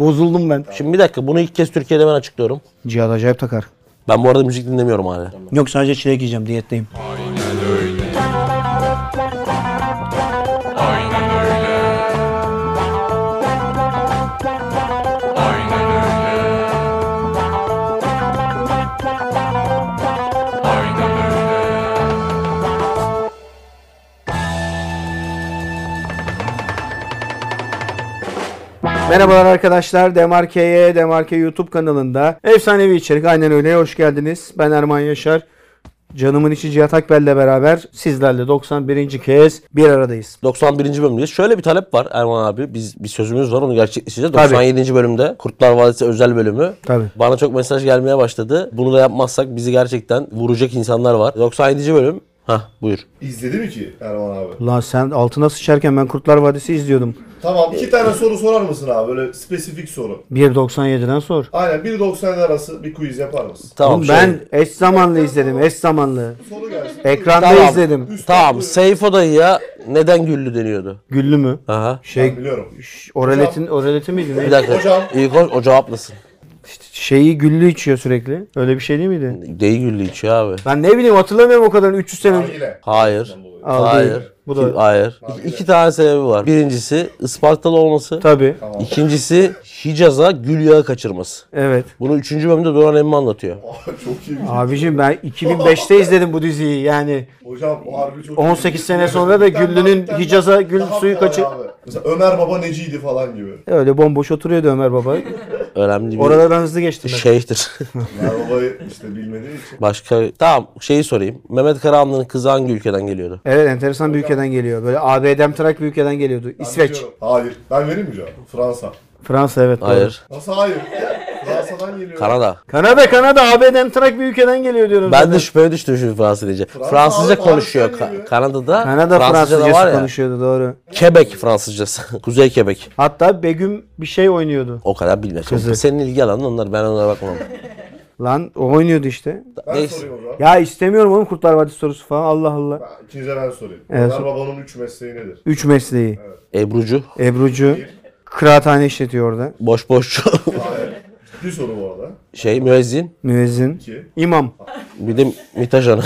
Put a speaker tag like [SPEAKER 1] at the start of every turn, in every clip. [SPEAKER 1] Bozuldum ben.
[SPEAKER 2] Şimdi bir dakika bunu ilk kez Türkiye'de ben açıklıyorum.
[SPEAKER 3] Cihat acayip takar.
[SPEAKER 2] Ben bu arada müzik dinlemiyorum hala.
[SPEAKER 3] Yok sadece çilek yiyeceğim diyetteyim. Merhabalar arkadaşlar. Demarke'ye, Demarke YouTube kanalında efsanevi içerik. Aynen öyle. Hoş geldiniz. Ben Erman Yaşar. Canımın içi Cihat Akbel'le beraber sizlerle 91. kez bir aradayız.
[SPEAKER 2] 91. bölümdeyiz. Şöyle bir talep var Erman abi. Biz bir sözümüz var onu gerçekleştireceğiz.
[SPEAKER 3] Tabii.
[SPEAKER 2] 97. bölümde Kurtlar Vadisi özel bölümü.
[SPEAKER 3] Tabii.
[SPEAKER 2] Bana çok mesaj gelmeye başladı. Bunu da yapmazsak bizi gerçekten vuracak insanlar var. 97. bölüm. Hah buyur.
[SPEAKER 4] İzledi mi ki Erman abi?
[SPEAKER 3] Ulan sen altına sıçarken ben Kurtlar Vadisi izliyordum.
[SPEAKER 4] Tamam iki tane soru sorar mısın abi? Böyle spesifik soru.
[SPEAKER 3] 1.97'den sor.
[SPEAKER 4] Aynen 1.90 arası bir quiz yapar mısın?
[SPEAKER 2] Tamam. şey-
[SPEAKER 3] Oğlum
[SPEAKER 2] şöyle.
[SPEAKER 3] ben eş zamanlı izledim. Eş zamanlı.
[SPEAKER 4] Soru gelsin.
[SPEAKER 3] Ekranda
[SPEAKER 2] Tamam.
[SPEAKER 3] izledim.
[SPEAKER 2] Tamam. Seyfo dayıya neden güllü deniyordu?
[SPEAKER 3] Güllü mü?
[SPEAKER 2] Aha.
[SPEAKER 3] Şey
[SPEAKER 4] Ben biliyorum.
[SPEAKER 3] ş- Oralet'in oraleti miydi?
[SPEAKER 2] Bir
[SPEAKER 3] ne?
[SPEAKER 2] dakika.
[SPEAKER 4] Hocam.
[SPEAKER 2] İlk o, o cevaplasın.
[SPEAKER 3] Şeyi güllü içiyor sürekli. Öyle bir şey değil miydi?
[SPEAKER 2] Değil güllü içiyor abi.
[SPEAKER 3] Ben ne bileyim hatırlamıyorum o kadar 300 sene önce.
[SPEAKER 4] Nargile.
[SPEAKER 2] Hayır.
[SPEAKER 3] Al değil.
[SPEAKER 2] Hayır.
[SPEAKER 3] Bu da-
[SPEAKER 2] Hayır. İki, iki tane sebebi var. Birincisi Ispartalı olması.
[SPEAKER 3] Tabii.
[SPEAKER 2] İkincisi Hicaz'a gül yağı kaçırması.
[SPEAKER 3] Evet.
[SPEAKER 2] Bunu 3. bölümde Doğan Emmi anlatıyor.
[SPEAKER 4] Aa, çok iyi.
[SPEAKER 3] Abicim ben 2005'te izledim bu diziyi yani.
[SPEAKER 4] Hocam o harbi çok iyi.
[SPEAKER 3] 18 sene sonra da
[SPEAKER 4] Bir tane
[SPEAKER 3] Güllü'nün
[SPEAKER 4] daha- bir tane
[SPEAKER 3] Hicaz'a
[SPEAKER 4] daha-
[SPEAKER 3] gül
[SPEAKER 4] daha
[SPEAKER 3] suyu
[SPEAKER 4] bir tane
[SPEAKER 3] kaçı-
[SPEAKER 4] abi. Mesela Ömer Baba neciydi falan gibi.
[SPEAKER 3] Öyle bomboş oturuyordu Ömer Baba.
[SPEAKER 2] Önemli bir
[SPEAKER 3] Oralardan hızlı geçtim ben.
[SPEAKER 2] şeydir.
[SPEAKER 4] Ömer Baba'yı işte bilmediği için.
[SPEAKER 2] Başka tamam şeyi sorayım. Mehmet Karahanlı'nın kızı hangi ülkeden geliyordu?
[SPEAKER 3] Evet enteresan bir ülkeden geliyor. Böyle ABD'm Trak bir ülkeden geliyordu.
[SPEAKER 4] Ben
[SPEAKER 3] İsveç.
[SPEAKER 4] biliyorum. Hayır. Ben vereyim mi cevabı? Fransa.
[SPEAKER 3] Fransa evet. doğru.
[SPEAKER 2] Hayır.
[SPEAKER 4] Nasıl hayır? Fransa'dan geliyor.
[SPEAKER 2] Kanada.
[SPEAKER 3] Kanada Kanada ABD'm Trak bir ülkeden geliyor diyorum.
[SPEAKER 2] Ben
[SPEAKER 3] zaten.
[SPEAKER 2] de şüpheye düştüm şimdi Fransa diyece. Fransızca
[SPEAKER 4] abi,
[SPEAKER 2] konuşuyor.
[SPEAKER 4] Fransızca
[SPEAKER 2] Ka-
[SPEAKER 4] geliyor.
[SPEAKER 2] Kanada'da
[SPEAKER 3] Kanada
[SPEAKER 2] Fransızca da
[SPEAKER 3] Fransızcası
[SPEAKER 2] var ya.
[SPEAKER 3] konuşuyordu doğru.
[SPEAKER 2] Quebec Fransızcası. Kuzey Quebec.
[SPEAKER 3] Hatta Begüm bir şey oynuyordu.
[SPEAKER 2] O kadar bilmiyorum.
[SPEAKER 3] Kızı.
[SPEAKER 2] Senin ilgi alanın onlar. Ben onlara bakmam.
[SPEAKER 3] Lan o oynuyordu işte.
[SPEAKER 4] Ben
[SPEAKER 2] Neyse.
[SPEAKER 4] sorayım o zaman.
[SPEAKER 3] Ya istemiyorum oğlum Kurtlar Vadisi sorusu falan Allah Allah.
[SPEAKER 4] Ha, İkinize ben sorayım.
[SPEAKER 3] Evet.
[SPEAKER 4] Ömer Baba'nın 3 mesleği nedir?
[SPEAKER 3] Üç mesleği.
[SPEAKER 2] Ebrucu.
[SPEAKER 3] Ebrucu kıraathane işletiyor orada.
[SPEAKER 2] Boş boşçu.
[SPEAKER 4] Hayır. Bir soru bu arada.
[SPEAKER 2] şey müezzin.
[SPEAKER 3] Müezzin.
[SPEAKER 4] İki.
[SPEAKER 3] İmam.
[SPEAKER 2] Bir de MİT ajanı.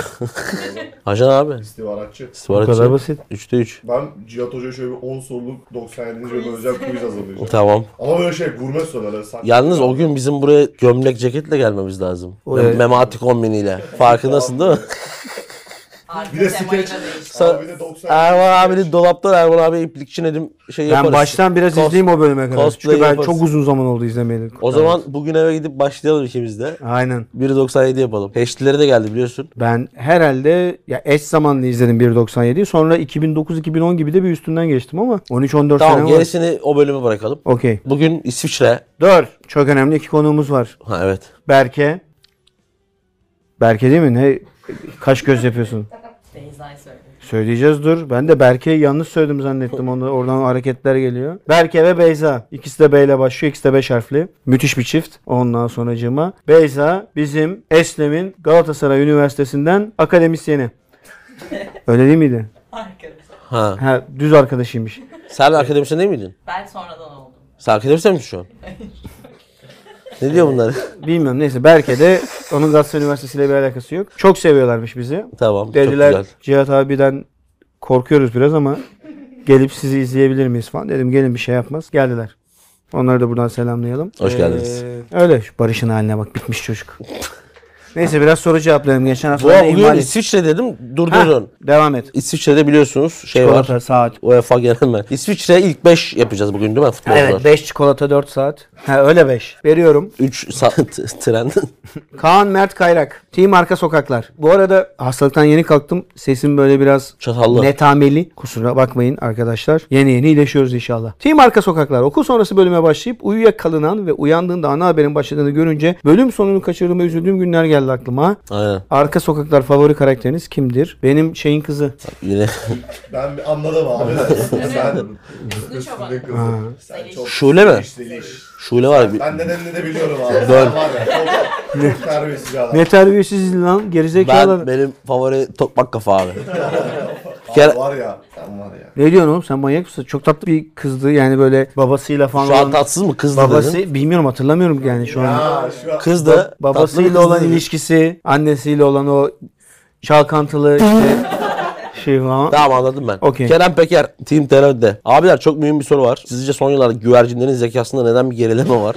[SPEAKER 2] Ajan abi.
[SPEAKER 4] İstihbaratçı.
[SPEAKER 3] Bu
[SPEAKER 2] İstihbaratçı.
[SPEAKER 3] kadar basit.
[SPEAKER 2] 3'te 3.
[SPEAKER 4] Ben Cihat Hoca'ya şöyle bir 10 soruluk 97. bölüm özel quiz hazırlayacağım.
[SPEAKER 2] Tamam.
[SPEAKER 4] Ama böyle şey gurme soruları. Sanki
[SPEAKER 2] Yalnız o gün bizim buraya gömlek ceketle gelmemiz lazım.
[SPEAKER 3] Evet.
[SPEAKER 2] Memati kombiniyle. Farkındasın değil mi?
[SPEAKER 4] Bir de skeç. Abi bir de 90.
[SPEAKER 2] Erman abinin dolaptan Erman abi iplikçi Nedim şey yaparız.
[SPEAKER 3] Ben baştan biraz
[SPEAKER 2] Cos-
[SPEAKER 3] izleyeyim o bölüme kadar.
[SPEAKER 2] cosplay
[SPEAKER 3] Çünkü ben
[SPEAKER 2] yaparız.
[SPEAKER 3] çok uzun zaman oldu izlemeyeli.
[SPEAKER 2] O zaman bugün eve gidip başlayalım ikimiz de.
[SPEAKER 3] Aynen.
[SPEAKER 2] 1.97 yapalım. Heştilere de geldi biliyorsun.
[SPEAKER 3] Ben herhalde ya eş zamanlı izledim 1.97'yi. Sonra 2009-2010 gibi de bir üstünden geçtim ama 13-14
[SPEAKER 2] Tamam
[SPEAKER 3] sene var.
[SPEAKER 2] gerisini o bölüme bırakalım.
[SPEAKER 3] Okey.
[SPEAKER 2] Bugün İsviçre.
[SPEAKER 3] 4. Çok önemli iki konuğumuz var.
[SPEAKER 2] Ha evet.
[SPEAKER 3] Berke. Berke değil mi? Ne? Kaş göz yapıyorsun.
[SPEAKER 5] Beyza'yı söyledim.
[SPEAKER 3] Söyleyeceğiz dur. Ben de Berke'yi yanlış söyledim zannettim. Onu, oradan hareketler geliyor. Berke ve Beyza. İkisi de B ile başlıyor. İkisi de 5 harfli. Müthiş bir çift. Ondan sonracığıma. Beyza bizim Eslem'in Galatasaray Üniversitesi'nden akademisyeni. Öyle değil miydi?
[SPEAKER 5] Arkadaşlar.
[SPEAKER 2] Ha.
[SPEAKER 3] Ha, düz arkadaşıymış.
[SPEAKER 2] Sen akademisyen değil miydin?
[SPEAKER 5] Ben sonradan oldum.
[SPEAKER 2] Sen akademisyen misin şu an? ne diyor bunlar?
[SPEAKER 3] Bilmiyorum neyse. Berke de onun Galatasaray Üniversitesi ile bir alakası yok. Çok seviyorlarmış bizi.
[SPEAKER 2] tamam.
[SPEAKER 3] Dediler
[SPEAKER 2] Çok güzel.
[SPEAKER 3] Cihat abiden korkuyoruz biraz ama gelip sizi izleyebilir miyiz falan. Dedim gelin bir şey yapmaz. Geldiler. Onları da buradan selamlayalım.
[SPEAKER 2] Hoş geldiniz.
[SPEAKER 3] Ee, öyle şu Barış'ın haline bak bitmiş çocuk. Neyse biraz soru cevaplayalım. Geçen hafta
[SPEAKER 2] Bu
[SPEAKER 3] da
[SPEAKER 2] bugün
[SPEAKER 3] ihmal ettik.
[SPEAKER 2] İsviçre dedim.
[SPEAKER 3] Heh,
[SPEAKER 2] Durdurun.
[SPEAKER 3] Devam et.
[SPEAKER 2] İsviçre'de biliyorsunuz şey var.
[SPEAKER 3] Çikolata saat.
[SPEAKER 2] UEFA Genel Merkezi. İsviçre ilk 5 yapacağız bugün değil mi futbolcular?
[SPEAKER 3] Evet 5 çikolata 4 saat. Ha öyle 5. Veriyorum.
[SPEAKER 2] 3 saat tren.
[SPEAKER 3] Kaan Mert Kayrak. Team Arka Sokaklar. Bu arada hastalıktan yeni kalktım. Sesim böyle biraz
[SPEAKER 2] Çatallı.
[SPEAKER 3] Netameli. Kusura bakmayın arkadaşlar. Yeni yeni iyileşiyoruz inşallah. Team Arka Sokaklar okul sonrası bölüme başlayıp uyuyakalınan ve uyandığında ana haberin başladığını görünce bölüm sonunu kaçırdığıma üzüldüğüm günler geldi aklıma.
[SPEAKER 2] Aynen.
[SPEAKER 3] Arka Sokaklar favori karakteriniz kimdir? Benim şeyin kızı.
[SPEAKER 2] Yine
[SPEAKER 4] Ben bir anladım abi. Sen.
[SPEAKER 5] Hüsnü Çoban.
[SPEAKER 4] Sen çok
[SPEAKER 2] Şule mi?
[SPEAKER 4] işli iş.
[SPEAKER 2] Şule var. bir-
[SPEAKER 4] Ben nedenini de biliyorum abi.
[SPEAKER 2] Dön.
[SPEAKER 4] Var ya çok, çok terbiyesiz bir adam.
[SPEAKER 3] Ne terbiyesiz lan gerizekalı.
[SPEAKER 2] Ben benim favori tokmak kafa abi.
[SPEAKER 4] Abi
[SPEAKER 2] Kere-
[SPEAKER 4] var ya. Sen var ya.
[SPEAKER 3] Ne diyorsun oğlum sen manyak mısın? Çok tatlı bir kızdı yani böyle babasıyla falan.
[SPEAKER 2] Şu an
[SPEAKER 3] olan-
[SPEAKER 2] tatsız mı kızdı
[SPEAKER 3] babası
[SPEAKER 2] dedin?
[SPEAKER 3] bilmiyorum hatırlamıyorum yani şu an.
[SPEAKER 4] Ya şu an.
[SPEAKER 2] Kızdı. tatlı
[SPEAKER 3] Babasıyla
[SPEAKER 2] mı,
[SPEAKER 3] olan
[SPEAKER 2] kızdı mı?
[SPEAKER 3] ilişkisi, annesiyle olan o çalkantılı işte şey falan.
[SPEAKER 2] Tamam anladım ben.
[SPEAKER 3] Okey.
[SPEAKER 2] Kerem Peker, Team Terör'de. Abiler çok mühim bir soru var. Sizce son yıllarda güvercinlerin zekasında neden bir gerileme var?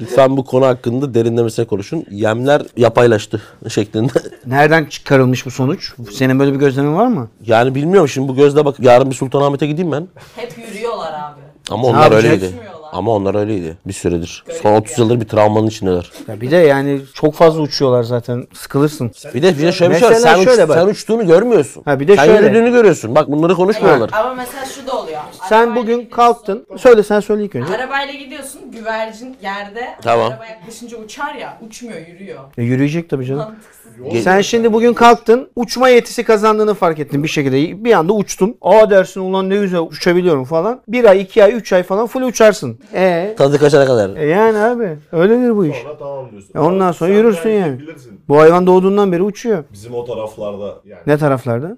[SPEAKER 2] Lütfen bu konu hakkında derinlemesine konuşun. Yemler yapaylaştı şeklinde.
[SPEAKER 3] Nereden çıkarılmış bu sonuç? Senin böyle bir gözlemin var mı?
[SPEAKER 2] yani bilmiyorum şimdi bu gözle bak yarın bir Sultanahmet'e gideyim ben.
[SPEAKER 5] Hep yürüyorlar abi.
[SPEAKER 2] Ama onlar
[SPEAKER 3] yapacak?
[SPEAKER 2] öyleydi.
[SPEAKER 5] Uçmuyorlar.
[SPEAKER 2] Ama onlar öyleydi bir süredir.
[SPEAKER 5] Garip
[SPEAKER 2] Son 30
[SPEAKER 5] ya.
[SPEAKER 2] yıldır bir travmanın içindeler.
[SPEAKER 3] Ya bir de yani çok fazla uçuyorlar zaten. Sıkılırsın.
[SPEAKER 2] Bir de, bir de şöyle bir şey var.
[SPEAKER 3] Mesela
[SPEAKER 2] Sen, uç-
[SPEAKER 3] şöyle bak.
[SPEAKER 2] sen uçtuğunu görmüyorsun.
[SPEAKER 3] Ha, bir de
[SPEAKER 2] sen
[SPEAKER 3] şöyle.
[SPEAKER 2] yürüdüğünü görüyorsun. Bak bunları konuşmuyorlar.
[SPEAKER 5] Ama mesela şu da oluyor.
[SPEAKER 3] Sen
[SPEAKER 5] Arabayla
[SPEAKER 3] bugün
[SPEAKER 5] gidiyorsun.
[SPEAKER 3] kalktın. Söyle sen söyle ilk önce.
[SPEAKER 5] Arabayla gidiyorsun güvercin yerde.
[SPEAKER 2] Tamam.
[SPEAKER 5] Araba yaklaşınca uçar ya uçmuyor yürüyor.
[SPEAKER 3] E, yürüyecek tabii canım.
[SPEAKER 5] Mantıksız.
[SPEAKER 2] Ge-
[SPEAKER 3] Sen şimdi bugün kalktın uçma yetisi kazandığını fark ettin bir şekilde. Bir anda uçtun. Aa dersin ulan ne güzel uçabiliyorum falan. Bir ay, iki ay, üç ay falan full uçarsın. E,
[SPEAKER 2] Tadı kaçana kadar.
[SPEAKER 3] e yani abi öyledir bu iş.
[SPEAKER 4] Sonra tamam diyorsun.
[SPEAKER 3] E ondan
[SPEAKER 4] Ama
[SPEAKER 3] sonra
[SPEAKER 4] sen
[SPEAKER 3] yürürsün
[SPEAKER 4] belki
[SPEAKER 3] yani.
[SPEAKER 4] Bilirsin.
[SPEAKER 3] Bu hayvan doğduğundan beri uçuyor.
[SPEAKER 4] Bizim o taraflarda yani.
[SPEAKER 3] Ne taraflarda?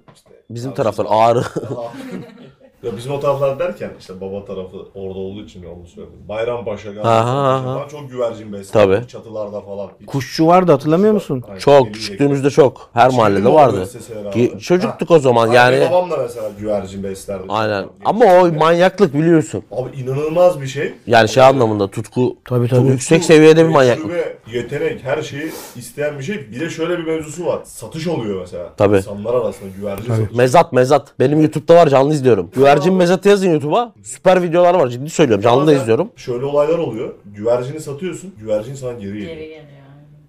[SPEAKER 2] Bizim taraftan ağrı.
[SPEAKER 4] Ya bizim o taraflar derken işte baba tarafı orada olduğu için ben onu söyledim. Bayrampaşa
[SPEAKER 2] Aha,
[SPEAKER 4] galiba.
[SPEAKER 2] aha.
[SPEAKER 4] falan çok güvercin besliyor.
[SPEAKER 2] Tabii.
[SPEAKER 4] Çatılarda falan.
[SPEAKER 3] Kuşçu vardı hatırlamıyor musun?
[SPEAKER 4] Aynen,
[SPEAKER 2] Çok
[SPEAKER 4] elini
[SPEAKER 2] küçüklüğümüzde çok. Her
[SPEAKER 4] Şimdi mi
[SPEAKER 2] mahallede
[SPEAKER 4] oldu
[SPEAKER 2] vardı.
[SPEAKER 4] liseler
[SPEAKER 2] Ki
[SPEAKER 4] abi?
[SPEAKER 2] çocuktuk
[SPEAKER 4] Ha.
[SPEAKER 2] o zaman
[SPEAKER 4] Abi
[SPEAKER 2] yani.
[SPEAKER 4] babam da mesela güvercin beslerdi.
[SPEAKER 2] Aynen. Ama o manyaklık biliyorsun.
[SPEAKER 4] Abi inanılmaz bir şey.
[SPEAKER 2] Yani şey anlamında tutku
[SPEAKER 3] Tabii,
[SPEAKER 2] çok
[SPEAKER 3] tabii.
[SPEAKER 2] yüksek seviyede bir manyaklık.
[SPEAKER 4] Tecrübe, yetenek, her şeyi isteyen bir şey. Bir de şöyle bir mevzusu var. Satış oluyor mesela.
[SPEAKER 2] Tabii.
[SPEAKER 4] İnsanlar arasında güvercin satış.
[SPEAKER 2] Mezat mezat. Benim YouTube'da var canlı izliyorum. Güvercin mezatı yazın YouTube'a. Süper videolar var ciddi söylüyorum. Canlı da
[SPEAKER 4] Bazen
[SPEAKER 2] izliyorum.
[SPEAKER 4] Şöyle olaylar oluyor. Güvercini satıyorsun. Güvercin sana geri geliyor.
[SPEAKER 5] Geri geliyor.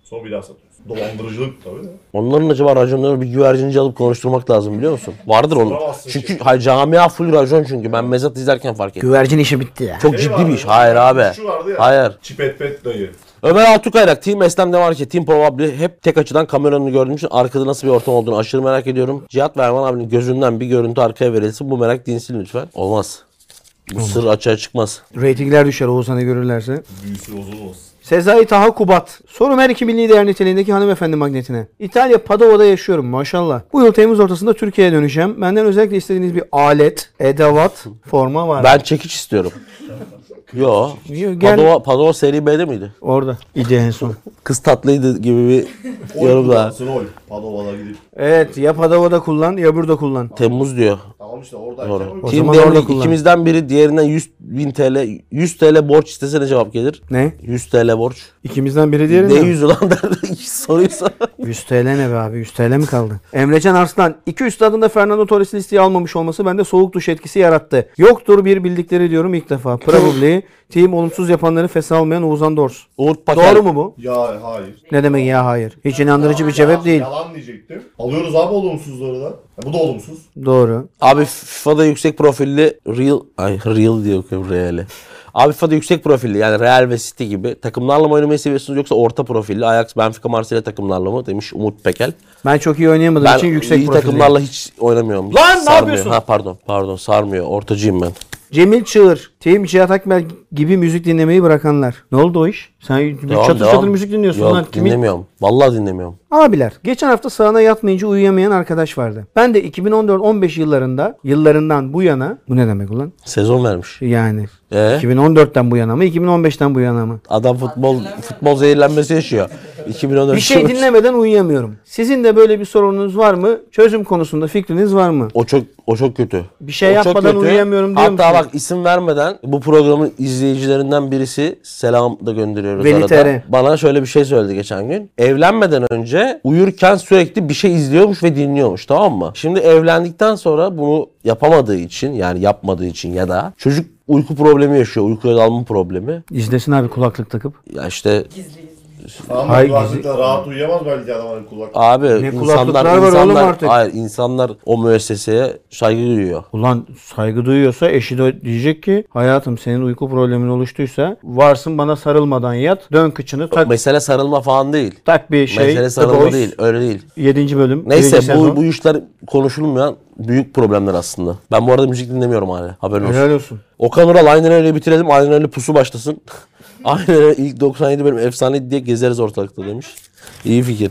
[SPEAKER 4] Sonra bir daha satıyorsun. Dolandırıcılık tabii de.
[SPEAKER 2] Onların acaba raconları bir güvercinci alıp konuşturmak lazım biliyor musun? Vardır onun.
[SPEAKER 4] Soramazsın
[SPEAKER 2] Çünkü
[SPEAKER 4] şimdi.
[SPEAKER 2] hayır, camia full racon çünkü. Ben mezat izlerken fark ettim.
[SPEAKER 3] Güvercin işi bitti ya.
[SPEAKER 2] Çok
[SPEAKER 4] Şey
[SPEAKER 2] ciddi
[SPEAKER 4] vardı,
[SPEAKER 2] bir iş. Hayır abi.
[SPEAKER 4] Şu vardı ya.
[SPEAKER 2] Hayır.
[SPEAKER 4] Çipet pet dayı.
[SPEAKER 2] Ömer Altıkayrak, Team Eslem'de var ki Team Probably hep tek açıdan kameranı gördüğüm için arkada nasıl bir ortam olduğunu aşırı merak ediyorum. Cihat ve Erman abinin gözünden bir görüntü arkaya verilsin. Bu merak dinsin lütfen. Olmaz. Bu sır açığa çıkmaz.
[SPEAKER 3] Ratingler düşer Oğuzhan'ı görürlerse.
[SPEAKER 4] Büyüsü uzun olsun.
[SPEAKER 3] Sezai Taha Kubat. Sorum her iki milli değer niteliğindeki hanımefendi magnetine. İtalya Padova'da yaşıyorum maşallah. Bu yıl Temmuz ortasında Türkiye'ye döneceğim. Benden özellikle istediğiniz bir alet, edevat, forma var.
[SPEAKER 2] Ben çekiç istiyorum. Yo.
[SPEAKER 3] Yo, gel.
[SPEAKER 2] Padova, Padova seri B'de miydi?
[SPEAKER 3] Orada. İdi en son.
[SPEAKER 2] Kız tatlıydı gibi bir yorum daha.
[SPEAKER 4] kullansın ol. Padova'da gidip.
[SPEAKER 3] Evet ya Padova'da kullan ya burada kullan.
[SPEAKER 2] Temmuz diyor.
[SPEAKER 4] Tamam işte oradayken
[SPEAKER 2] Doğru.
[SPEAKER 4] o-
[SPEAKER 2] Team
[SPEAKER 3] zaman
[SPEAKER 2] Demlik
[SPEAKER 3] orada kullan.
[SPEAKER 2] ikimizden biri diğerinden 100 bin TL 100 TL borç istese ne cevap gelir?
[SPEAKER 3] Ne?
[SPEAKER 2] 100 TL borç.
[SPEAKER 3] İkimizden biri
[SPEAKER 2] Ne
[SPEAKER 3] diğeri mi?
[SPEAKER 2] 100 ulan derdi. Soruyu sor.
[SPEAKER 3] 100 TL ne be abi? 100 TL mi kaldı? Emrecan Arslan. iki üstadın da Fernando Torres listeye almamış olması bende soğuk duş etkisi yarattı. Yoktur bir bildikleri diyorum ilk defa. Probably. Team olumsuz yapanları fesa almayan Oğuzhan Dors.
[SPEAKER 2] Uğur Pakel.
[SPEAKER 3] Doğru mu bu?
[SPEAKER 4] Ya hayır.
[SPEAKER 3] Ne demek ya hayır. Hiç inandırıcı bir
[SPEAKER 4] Yalan-
[SPEAKER 3] cevap değil.
[SPEAKER 4] Yalan diyecektim. Alıyoruz abi olumsuzları da. Ya bu da olumsuz.
[SPEAKER 3] Doğru.
[SPEAKER 2] Abi FIFA'da yüksek profilli Real ay Real diye okuyorum Real'i. Abi FIFA'da yüksek profilli yani Real ve City gibi takımlarla mı oynamayı seviyorsunuz yoksa orta profilli Ajax, Benfica, Marsilya takımlarla mı demiş Umut Pekel.
[SPEAKER 3] Ben çok iyi oynayamadığım
[SPEAKER 2] Ben
[SPEAKER 3] için yüksek
[SPEAKER 2] iyi
[SPEAKER 3] profildeyim.
[SPEAKER 2] takımlarla hiç oynamıyorum.
[SPEAKER 3] Lan ne
[SPEAKER 2] Sarmıyor.
[SPEAKER 3] yapıyorsun?
[SPEAKER 2] Ha pardon. Pardon sarmıyor. Ortacıyım ben.
[SPEAKER 3] Cemil Çığır, Team Cihat Akmel gibi müzik dinlemeyi bırakanlar. Ne oldu o iş? Sen
[SPEAKER 2] Devam,
[SPEAKER 3] çatır
[SPEAKER 2] devam.
[SPEAKER 3] çatır müzik dinliyorsun
[SPEAKER 2] Yok,
[SPEAKER 3] lan. Kimin-
[SPEAKER 2] dinlemiyorum. Vallahi dinlemiyorum.
[SPEAKER 3] Abiler, geçen hafta sağına yatmayınca uyuyamayan arkadaş vardı. Ben de 2014-15 yıllarında, yıllarından bu yana, bu ne demek ulan?
[SPEAKER 2] Sezon vermiş.
[SPEAKER 3] Yani
[SPEAKER 2] Ee?
[SPEAKER 3] 2014'ten bu yana mı, 2015'ten bu yana mı?
[SPEAKER 2] Adam futbol futbol zehirlenmesi yaşıyor. 2014
[SPEAKER 3] Bir şey dinlemeden uyuyamıyorum. Sizin de böyle bir sorununuz var mı? Çözüm konusunda fikriniz var mı?
[SPEAKER 2] O çok o çok kötü.
[SPEAKER 3] Bir şey
[SPEAKER 2] O çok
[SPEAKER 3] yapmadan uyuyamıyorum diyor
[SPEAKER 2] Hatta
[SPEAKER 3] musun?
[SPEAKER 2] bak isim vermeden bu programın izleyicilerinden birisi selam da gönderiyoruz
[SPEAKER 3] Veli
[SPEAKER 2] arada.
[SPEAKER 3] Tere.
[SPEAKER 2] Bana şöyle bir şey söyledi geçen gün. Evlenmeden önce uyurken sürekli bir şey izliyormuş ve dinliyormuş tamam mı? Şimdi evlendikten sonra bunu yapamadığı için yani yapmadığı için ya da çocuk uyku problemi yaşıyor. Uykuya dalma problemi.
[SPEAKER 3] İzlesin abi kulaklık takıp.
[SPEAKER 2] Ya işte
[SPEAKER 5] Gizli gizli.
[SPEAKER 4] Tamam
[SPEAKER 3] Hayır,
[SPEAKER 4] Hayır, rahat uyuyamaz belki adamın kulak.
[SPEAKER 2] abi
[SPEAKER 3] kulaklıklar var
[SPEAKER 2] insanlar
[SPEAKER 3] oğlum
[SPEAKER 2] insanlar
[SPEAKER 3] artık.
[SPEAKER 2] hayır insanlar o müesseseye saygı duyuyor.
[SPEAKER 3] Ulan saygı duyuyorsa eşi de diyecek ki hayatım senin uyku problemin oluştuysa varsın bana sarılmadan yat. Dön kıçını tak
[SPEAKER 2] Mesele sarılma falan değil.
[SPEAKER 3] tak bir şey.
[SPEAKER 2] Mesele
[SPEAKER 3] The
[SPEAKER 2] sarılma
[SPEAKER 3] Boys,
[SPEAKER 2] değil, öyle değil.
[SPEAKER 3] Yedinci bölüm.
[SPEAKER 2] Neyse
[SPEAKER 3] birinci
[SPEAKER 2] bu,
[SPEAKER 3] sezon.
[SPEAKER 2] bu işler konuşulmayan büyük problemler aslında. Ben bu arada müzik dinlemiyorum hala. Haberin olsun.
[SPEAKER 3] Helal olsun.
[SPEAKER 2] Okan Ural aynen öyle bitirelim. Aynen öyle pusu başlasın. aynen öyle ilk 97 bölüm efsane diye gezeriz ortalıkta demiş. İyi fikir.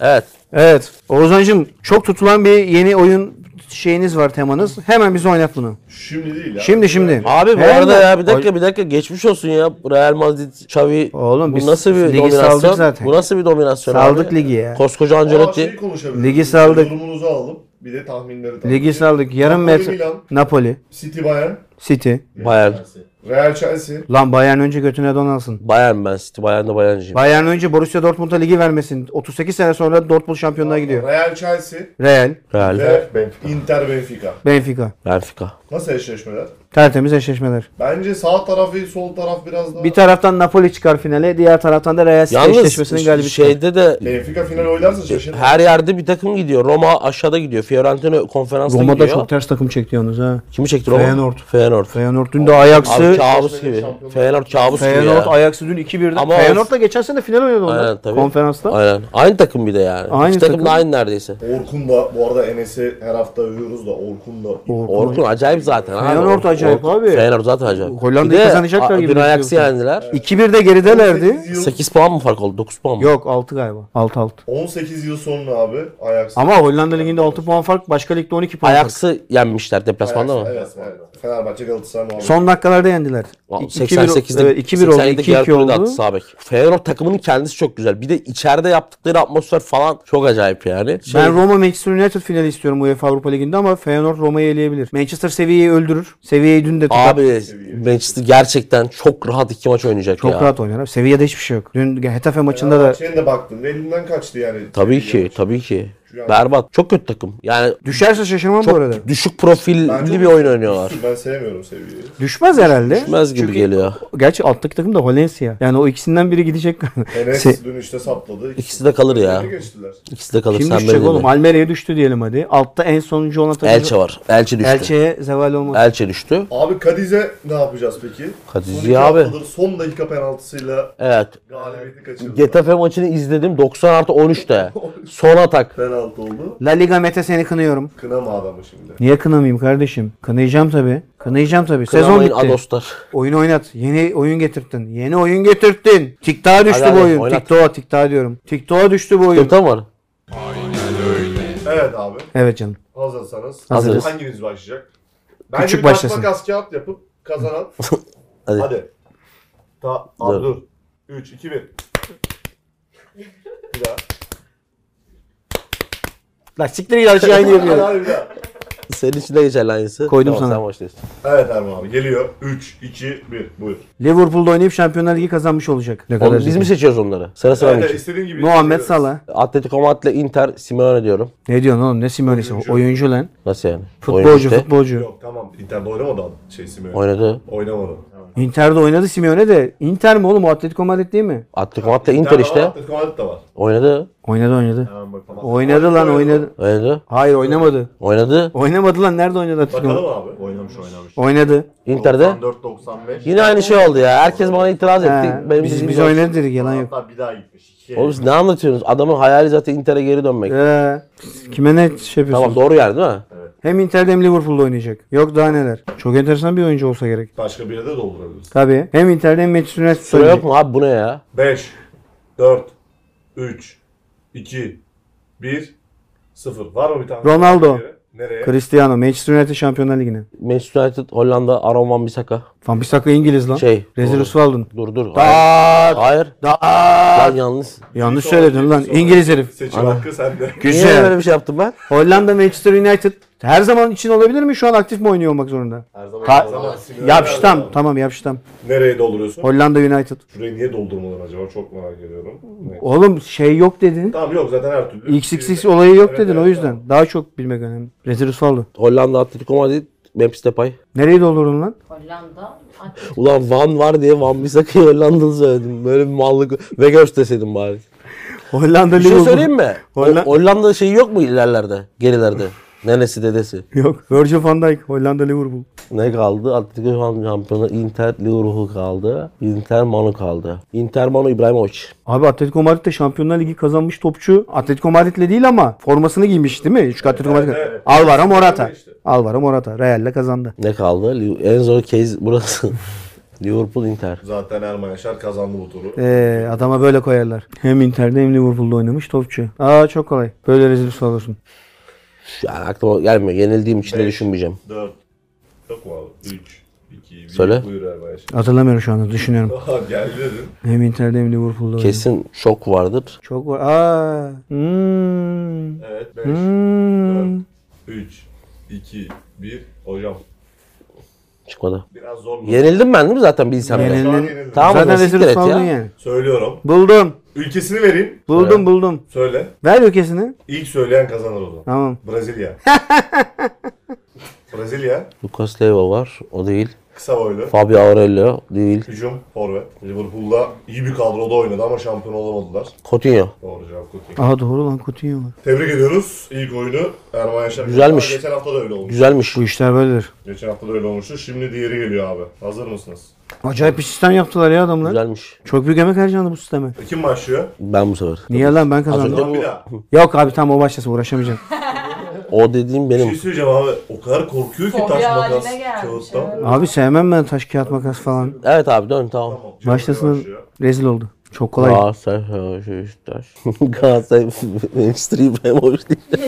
[SPEAKER 2] Evet.
[SPEAKER 3] Evet. Oğuzhan'cığım çok tutulan bir yeni oyun şeyiniz var temanız. Hemen bize oynat bunu.
[SPEAKER 4] Şimdi değil ya.
[SPEAKER 3] Şimdi şimdi.
[SPEAKER 2] Abi bu
[SPEAKER 3] Hemen.
[SPEAKER 2] arada ya bir dakika bir dakika geçmiş olsun ya. Real Madrid, Xavi.
[SPEAKER 3] Oğlum
[SPEAKER 2] bu
[SPEAKER 3] biz
[SPEAKER 2] nasıl bir
[SPEAKER 3] ligi
[SPEAKER 2] dominasyon?
[SPEAKER 3] saldık zaten.
[SPEAKER 2] Bu nasıl bir dominasyon
[SPEAKER 3] Saldık
[SPEAKER 2] abi?
[SPEAKER 3] ligi ya.
[SPEAKER 2] Koskoca
[SPEAKER 4] Aa, şeyi
[SPEAKER 2] Ancelotti.
[SPEAKER 4] konuşabiliriz.
[SPEAKER 3] Ligi saldık.
[SPEAKER 4] Yorumunuzu alalım. Bir de tahminleri tabii.
[SPEAKER 3] Ligi saldık. Yarım
[SPEAKER 4] Napoli,
[SPEAKER 3] metre.
[SPEAKER 4] Milan,
[SPEAKER 3] Napoli.
[SPEAKER 4] City Bayern,
[SPEAKER 3] City.
[SPEAKER 2] Bayern.
[SPEAKER 4] Chelsea. Real Chelsea.
[SPEAKER 3] Lan Bayern önce götüne donalsın.
[SPEAKER 2] Bayern ben City. Bayern'de Bayern'ciyim.
[SPEAKER 3] Bayern önce Borussia Dortmund'a ligi vermesin. 38 sene sonra Dortmund şampiyonluğa gidiyor.
[SPEAKER 4] Real Chelsea
[SPEAKER 3] Real,
[SPEAKER 2] Real.
[SPEAKER 4] ve Inter Benfica.
[SPEAKER 3] Benfica.
[SPEAKER 2] Benfica.
[SPEAKER 4] Nasıl eşleşmeler?
[SPEAKER 3] Tertemiz eşleşmeler.
[SPEAKER 4] Bence sağ tarafı sol taraf biraz daha.
[SPEAKER 3] Bir taraftan Napoli çıkar finale, diğer taraftan da Real City eşleşmesinin galibi
[SPEAKER 2] Yalnız
[SPEAKER 3] şey...
[SPEAKER 2] şeyde de
[SPEAKER 4] Benfica final oynarsa şaşırır.
[SPEAKER 2] her yerde bir takım gidiyor. Roma aşağıda gidiyor. Fiorentina konferansta
[SPEAKER 3] Roma'da
[SPEAKER 2] gidiyor.
[SPEAKER 3] çok ters takım çekti yalnız ha.
[SPEAKER 2] Kimi çekti Roma?
[SPEAKER 3] Feyenoord.
[SPEAKER 2] Feyenoord.
[SPEAKER 3] Feyenoord dün de
[SPEAKER 2] Abi
[SPEAKER 3] Ajax'ı
[SPEAKER 2] kabus gibi. Feyenoord kabus gibi
[SPEAKER 3] Feyenoord
[SPEAKER 2] ya.
[SPEAKER 3] Ajax'ı dün 2-1'de.
[SPEAKER 2] Ama
[SPEAKER 3] Feyenoord'la geçen sene final oynadı onlar.
[SPEAKER 2] Aynen tabii.
[SPEAKER 3] Konferansta.
[SPEAKER 2] Aynen. Aynı takım bir de yani.
[SPEAKER 3] Aynı
[SPEAKER 2] İki takım da
[SPEAKER 3] takım.
[SPEAKER 2] aynı neredeyse.
[SPEAKER 4] Orkun da bu arada Enes'i her hafta övüyoruz da Orkun da
[SPEAKER 2] Orkun acayip zaten. abi.
[SPEAKER 3] Feyenoord
[SPEAKER 2] Orkun-
[SPEAKER 3] acayip
[SPEAKER 2] Orkun-
[SPEAKER 3] abi.
[SPEAKER 2] Feyenoord zaten acayip.
[SPEAKER 3] Hollanda'yı
[SPEAKER 2] Bir de
[SPEAKER 3] kazanacaklar
[SPEAKER 2] a-
[SPEAKER 3] gibi
[SPEAKER 2] Dün Ajax'ı
[SPEAKER 3] gözüküyor.
[SPEAKER 2] yendiler.
[SPEAKER 3] 2-1'de geridelerdi.
[SPEAKER 4] 18 yıl,
[SPEAKER 2] 8 puan mı fark oldu? 9 puan mı?
[SPEAKER 3] Yok 6 galiba. 6-6.
[SPEAKER 4] 18 yıl sonra abi Ajax.
[SPEAKER 3] Ama Hollanda liginde 6 puan fark, başka ligde 12 puan fark.
[SPEAKER 2] Ajax'ı yenmişler deplasmanda mı?
[SPEAKER 4] Evet, evet. Fenerbahçe Galatasaray muhabbeti.
[SPEAKER 3] Son dakikalarda yendiler.
[SPEAKER 2] Vallahi
[SPEAKER 3] 88'de
[SPEAKER 2] 88'de
[SPEAKER 3] 2-1 oldu,
[SPEAKER 2] 87'de Gerard
[SPEAKER 3] 2-2
[SPEAKER 2] Houlli'de attı
[SPEAKER 3] oldu.
[SPEAKER 2] sağ bek. Feyenoord takımının kendisi çok güzel. Bir de içeride yaptıkları atmosfer falan çok acayip yani. Şey-
[SPEAKER 3] Ben Roma Manchester United finali istiyorum UEFA Avrupa Ligi'nde ama Feyenoord Roma'yı eleyebilir. Manchester seviyeyi öldürür. Seviyeyi dün de tutar.
[SPEAKER 2] Abi Manchester gerçekten çok rahat iki maç oynayacak
[SPEAKER 3] Çok
[SPEAKER 2] ya. şey-
[SPEAKER 3] rahat oynar abi. Seviyede hiçbir şey yok. Dün Hetafe maçında da
[SPEAKER 4] Fenerbahçe'nin de baktın. Elinden kaçtı yani.
[SPEAKER 2] Tabii ki, tabii ki.
[SPEAKER 4] Şu-
[SPEAKER 2] Berbat. Çok kötü takım. Yani
[SPEAKER 3] düşerse şaşırmam bu arada.
[SPEAKER 2] çok düşük profilli
[SPEAKER 4] Bence
[SPEAKER 2] bir
[SPEAKER 4] bu-
[SPEAKER 2] oyun oynuyorlar.
[SPEAKER 4] Ben sevmiyorum seviyeyi.
[SPEAKER 3] Düşmez herhalde.
[SPEAKER 2] Düşmez gibi
[SPEAKER 3] Çünkü-
[SPEAKER 2] geliyor.
[SPEAKER 3] Gerçi alttaki takım da Valencia. Yani o ikisinden biri gidecek.
[SPEAKER 4] Enes
[SPEAKER 3] Se-
[SPEAKER 4] dün işte sapladı.
[SPEAKER 2] İkisi de kalır ya.
[SPEAKER 4] Öne geçtiler.
[SPEAKER 2] İkisi de kalır.
[SPEAKER 3] Kim
[SPEAKER 2] Sen
[SPEAKER 3] düşecek
[SPEAKER 2] beni
[SPEAKER 3] oğlum?
[SPEAKER 2] dinle.
[SPEAKER 3] Almeria'ya düştü diyelim hadi. Altta en sonuncu olan takım.
[SPEAKER 2] Elçe var. Elçe düştü. Elçe,
[SPEAKER 3] Elçe'ye zeval olmaz.
[SPEAKER 2] düştü.
[SPEAKER 4] Abi Kadiz'e ne yapacağız peki?
[SPEAKER 2] Kadiz'i
[SPEAKER 4] Son iki
[SPEAKER 2] abi.
[SPEAKER 4] haftadır Son dakika penaltısıyla
[SPEAKER 2] Evet.
[SPEAKER 4] galibiyeti kaçırdı.
[SPEAKER 2] Getafe maçını izledim. 90 artı 13'te. Son atak.
[SPEAKER 4] Penaltı oldu.
[SPEAKER 3] La Liga Mete seni kınıyorum.
[SPEAKER 4] Kınama adamı şimdi.
[SPEAKER 3] Niye kınamayayım kardeşim? Kınayacağım tabii. Kınayacağım tabii. Sezon
[SPEAKER 2] Kınamayın
[SPEAKER 3] bitti.
[SPEAKER 2] Adoslar.
[SPEAKER 3] Oyun oynat. Yeni oyun getirttin. Yeni oyun getirttin. TikTok'a düştü
[SPEAKER 2] Hadi
[SPEAKER 3] bu
[SPEAKER 2] hadi,
[SPEAKER 3] oyun.
[SPEAKER 2] oynat.
[SPEAKER 3] TikTok'a TikTok'a diyorum. TikTok'a düştü bu oyun.
[SPEAKER 2] Kötü var.
[SPEAKER 4] Evet abi.
[SPEAKER 3] Evet canım.
[SPEAKER 4] Hazırsanız.
[SPEAKER 2] Hazırız.
[SPEAKER 4] Hanginiz başlayacak? Bence
[SPEAKER 3] Küçük
[SPEAKER 4] bir taş
[SPEAKER 3] başlasın.
[SPEAKER 4] makas kağıt yapıp kazanan.
[SPEAKER 2] Hadi.
[SPEAKER 4] Hadi. Ta
[SPEAKER 2] Dur.
[SPEAKER 4] abi dur. 3, 2, 1. Bir daha.
[SPEAKER 3] La siktir git aşağı aynı
[SPEAKER 4] Hadi
[SPEAKER 3] yapıyor.
[SPEAKER 4] abi bir daha.
[SPEAKER 2] Senin için de geçerli aynısı.
[SPEAKER 3] Koydum sana.
[SPEAKER 2] Sen başlıyorsun.
[SPEAKER 4] Evet Erman abi geliyor. 3, 2, 1. Buyur.
[SPEAKER 3] Liverpool'da oynayıp Şampiyonlar Ligi kazanmış olacak. Ne
[SPEAKER 2] Oğlum, biz mi seçiyoruz onları? Sıra sıra mı
[SPEAKER 4] Evet,
[SPEAKER 2] için?
[SPEAKER 4] istediğin gibi.
[SPEAKER 3] Muhammed
[SPEAKER 4] seçebiliriz.
[SPEAKER 3] Salah.
[SPEAKER 2] Atletico Madrid ile Inter Simeone diyorum.
[SPEAKER 3] Ne diyorsun oğlum? Ne Simeone'si? Oyuncu.
[SPEAKER 4] Oyuncu.
[SPEAKER 3] lan.
[SPEAKER 2] Nasıl yani? Oyun
[SPEAKER 3] Futbolcu,
[SPEAKER 2] işte.
[SPEAKER 3] futbolcu.
[SPEAKER 4] Yok tamam. Inter'de oynamadı adam. Şey Simeone.
[SPEAKER 2] Oynadı.
[SPEAKER 4] Oynamadı.
[SPEAKER 3] Inter'de oynadı Simeone de. Inter mi oğlum? O Atletico Madrid değil mi?
[SPEAKER 2] Atletico Madrid ile Inter işte.
[SPEAKER 4] Atletico Madrid de var.
[SPEAKER 2] Oynadı.
[SPEAKER 3] Oynadı oynadı.
[SPEAKER 4] Tamam bakalım.
[SPEAKER 3] Oynadı lan oynadı.
[SPEAKER 2] Oynadı.
[SPEAKER 3] Hayır oynamadı.
[SPEAKER 2] Oynadı.
[SPEAKER 3] Oynamadı lan nerede oynadı Atletico?
[SPEAKER 4] Bakalım
[SPEAKER 3] Madrid?
[SPEAKER 4] abi. Oynamış oynamış.
[SPEAKER 3] Oynadı.
[SPEAKER 2] Inter'de.
[SPEAKER 4] 94-95.
[SPEAKER 2] Yine aynı şey oldu ya. Herkes bana itiraz etti.
[SPEAKER 3] He,
[SPEAKER 2] Benim
[SPEAKER 3] biz,
[SPEAKER 2] dediğim
[SPEAKER 3] biz
[SPEAKER 2] yok.
[SPEAKER 3] oynadı dedik yalan yok.
[SPEAKER 4] Hatta bir daha gitmiş. İki
[SPEAKER 2] Oğlum siz ne anlatıyorsunuz? Adamın hayali zaten Inter'e geri dönmek.
[SPEAKER 3] Ee, kime ne şey yapıyorsun?
[SPEAKER 2] Tamam doğru yer değil mi?
[SPEAKER 3] Hem Inter'de hem Liverpool'da oynayacak. Yok daha neler. Çok enteresan bir oyuncu olsa gerek.
[SPEAKER 4] Başka bir yere de doldurabiliriz.
[SPEAKER 3] Tabii. Hem Inter'de hem Manchester United'da
[SPEAKER 2] Süre yok
[SPEAKER 3] oynayacak.
[SPEAKER 2] mu abi bu ne ya?
[SPEAKER 4] 5, 4, 3, 2, 1, 0. Var mı bir tane?
[SPEAKER 3] Ronaldo.
[SPEAKER 4] Nereye?
[SPEAKER 3] Cristiano Manchester United Şampiyonlar Ligi'ne.
[SPEAKER 2] Manchester United, Hollanda, Aaron Van Bissaka.
[SPEAKER 3] Van Bissaka İngiliz lan.
[SPEAKER 2] Şey,
[SPEAKER 3] Rezil
[SPEAKER 2] doğru.
[SPEAKER 3] Usvaldın.
[SPEAKER 2] Dur dur.
[SPEAKER 3] Dar.
[SPEAKER 2] Hayır. Hayır.
[SPEAKER 3] Dar.
[SPEAKER 2] Lan yalnız.
[SPEAKER 3] Yanlış
[SPEAKER 4] Sonra-
[SPEAKER 3] söyledin lan.
[SPEAKER 4] sonra-
[SPEAKER 3] İngiliz herif.
[SPEAKER 4] Seçim hakkı sende.
[SPEAKER 2] Niye
[SPEAKER 3] Güzel.
[SPEAKER 2] böyle bir şey yaptım ben?
[SPEAKER 3] Hollanda Manchester United her zaman için olabilir mi? Şu an aktif mi oynuyor olmak zorunda?
[SPEAKER 4] Her zaman.
[SPEAKER 3] Ha-
[SPEAKER 4] her zaman sigara
[SPEAKER 3] Yapıştam.
[SPEAKER 4] verdi.
[SPEAKER 3] Tamam yapıştam.
[SPEAKER 4] Nereye dolduruyorsun?
[SPEAKER 3] Hollanda United.
[SPEAKER 4] Şurayı niye doldurmadın acaba? Çok merak ediyorum. Ne?
[SPEAKER 3] Oğlum şey yok dedin.
[SPEAKER 4] Tamam yok zaten her türlü. şey-
[SPEAKER 3] XXX olayı yok
[SPEAKER 4] Evet,
[SPEAKER 3] dedin
[SPEAKER 4] evet,
[SPEAKER 3] o yüzden.
[SPEAKER 4] tamam.
[SPEAKER 3] Daha çok bilmek önemli. Rezil Usvallı.
[SPEAKER 2] Hollanda, Atletico Madrid, Memphis Depay.
[SPEAKER 3] Nereye doldurdun lan?
[SPEAKER 5] Hollanda. Atletico.
[SPEAKER 2] Ulan Van var diye Van Bissaka'yı Hollanda'lı söyledim. Böyle bir mallık. Vegas deseydim bari.
[SPEAKER 3] Hollanda
[SPEAKER 2] Bir şey
[SPEAKER 3] Liverpool.
[SPEAKER 2] söyleyeyim mi? O-
[SPEAKER 3] Hollanda-
[SPEAKER 2] Hollanda şeyi yok mu ilerlerde? Gerilerde? Neresi dedesi?
[SPEAKER 3] Yok. Virgil van Dijk. Hollanda Liverpool.
[SPEAKER 2] Ne kaldı? Atletico şampiyonu Inter Liverpool kaldı. Inter Manu kaldı. Inter Manu İbrahimovic.
[SPEAKER 3] Abi Atletico Madrid de Şampiyonlar Ligi kazanmış topçu. Atletico Madrid'le değil ama formasını giymiş değil mi? Şu Atletico Madrid.
[SPEAKER 4] evet, evet.
[SPEAKER 3] Alvaro Morata.
[SPEAKER 4] İşte.
[SPEAKER 3] Alvaro Morata. Real'le kazandı.
[SPEAKER 2] Ne kaldı? Li- En zor case burası. Liverpool Inter.
[SPEAKER 4] Zaten Erman Yaşar kazandı bu turu.
[SPEAKER 3] Ee, adama böyle koyarlar. Hem Inter'de hem Liverpool'da oynamış topçu. Aa çok kolay. Böyle rezil olursun.
[SPEAKER 2] Yani aklıma gelmiyor. Yenildiğim için de
[SPEAKER 4] Beş.
[SPEAKER 2] düşünmeyeceğim.
[SPEAKER 4] 4. Yok mu abi? 3, 2, 1.
[SPEAKER 2] Söyle.
[SPEAKER 4] Buyur Erman Yaşar.
[SPEAKER 3] Hatırlamıyorum şu anda düşünüyorum.
[SPEAKER 4] Aha geldi dedim.
[SPEAKER 3] Hem Inter'de hem Liverpool'da oynamış.
[SPEAKER 2] Kesin şok vardır.
[SPEAKER 3] Çok var. Aa. Hmm.
[SPEAKER 4] Evet 5,
[SPEAKER 3] Hmm.
[SPEAKER 4] 3, 2, 1. Hocam
[SPEAKER 2] Çıkmadı.
[SPEAKER 4] biraz zorlu.
[SPEAKER 2] Yenildim ben değil mi zaten bilsem de?
[SPEAKER 4] Şu an
[SPEAKER 3] Yenilin-
[SPEAKER 4] yenildim.
[SPEAKER 2] Tamam o
[SPEAKER 3] Zaten
[SPEAKER 2] zaman
[SPEAKER 3] rezil
[SPEAKER 2] siktir et
[SPEAKER 3] oldun
[SPEAKER 2] ya.
[SPEAKER 3] yani.
[SPEAKER 4] Söylüyorum.
[SPEAKER 3] Buldum.
[SPEAKER 4] Ülkesini vereyim.
[SPEAKER 3] Buldum buldum.
[SPEAKER 4] Söyle.
[SPEAKER 3] Ver ülkesini.
[SPEAKER 4] İlk söyleyen kazanır o zaman.
[SPEAKER 3] Tamam.
[SPEAKER 4] Brezilya. Brezilya.
[SPEAKER 2] Lucas Leiva var. O değil.
[SPEAKER 4] Kısa boylu.
[SPEAKER 2] Fabio Aurelio değil.
[SPEAKER 4] Hücum. Forvet. Liverpool'da iyi bir kadroda oynadı ama şampiyon olamadılar.
[SPEAKER 2] Coutinho.
[SPEAKER 4] Doğru cevap Coutinho.
[SPEAKER 3] Aha doğru lan Coutinho var.
[SPEAKER 4] Tebrik ediyoruz. İlk oyunu Erman Yaşar.
[SPEAKER 2] Güzelmiş.
[SPEAKER 4] Geçen hafta da öyle olmuş.
[SPEAKER 2] Güzelmiş.
[SPEAKER 3] Bu işler böyledir.
[SPEAKER 4] Geçen hafta da öyle olmuştu. Şimdi diğeri geliyor abi. Hazır mısınız?
[SPEAKER 3] Acayip bir sistem yaptılar ya adamlar.
[SPEAKER 2] Güzelmiş.
[SPEAKER 3] Çok büyük emek harcandı bu sisteme.
[SPEAKER 4] E, Kim başlıyor?
[SPEAKER 2] Ben bu sefer.
[SPEAKER 3] Niye lan ben
[SPEAKER 2] önce-
[SPEAKER 3] kazandım.
[SPEAKER 4] Tamam bir daha.
[SPEAKER 3] Yok abi tamam o başlasın uğraşamayacağım.
[SPEAKER 2] O dediğim
[SPEAKER 4] Bir şey
[SPEAKER 2] benim.
[SPEAKER 4] söyleyeceğim abi. O kadar korkuyor ki
[SPEAKER 5] Fobia
[SPEAKER 4] taş makas
[SPEAKER 5] haline gelmiş,
[SPEAKER 4] kağıttan.
[SPEAKER 5] evet.
[SPEAKER 3] abi sevmem ben taş kağıt makas falan.
[SPEAKER 2] Evet abi dön tamam.
[SPEAKER 4] Tamam.
[SPEAKER 3] Başlasın
[SPEAKER 4] Başlıyor.
[SPEAKER 3] rezil oldu. Çok kolay.
[SPEAKER 2] Galatasaray Fenerbahçe Beşiktaş. Galatasaray Manchester İbrahimovic değil.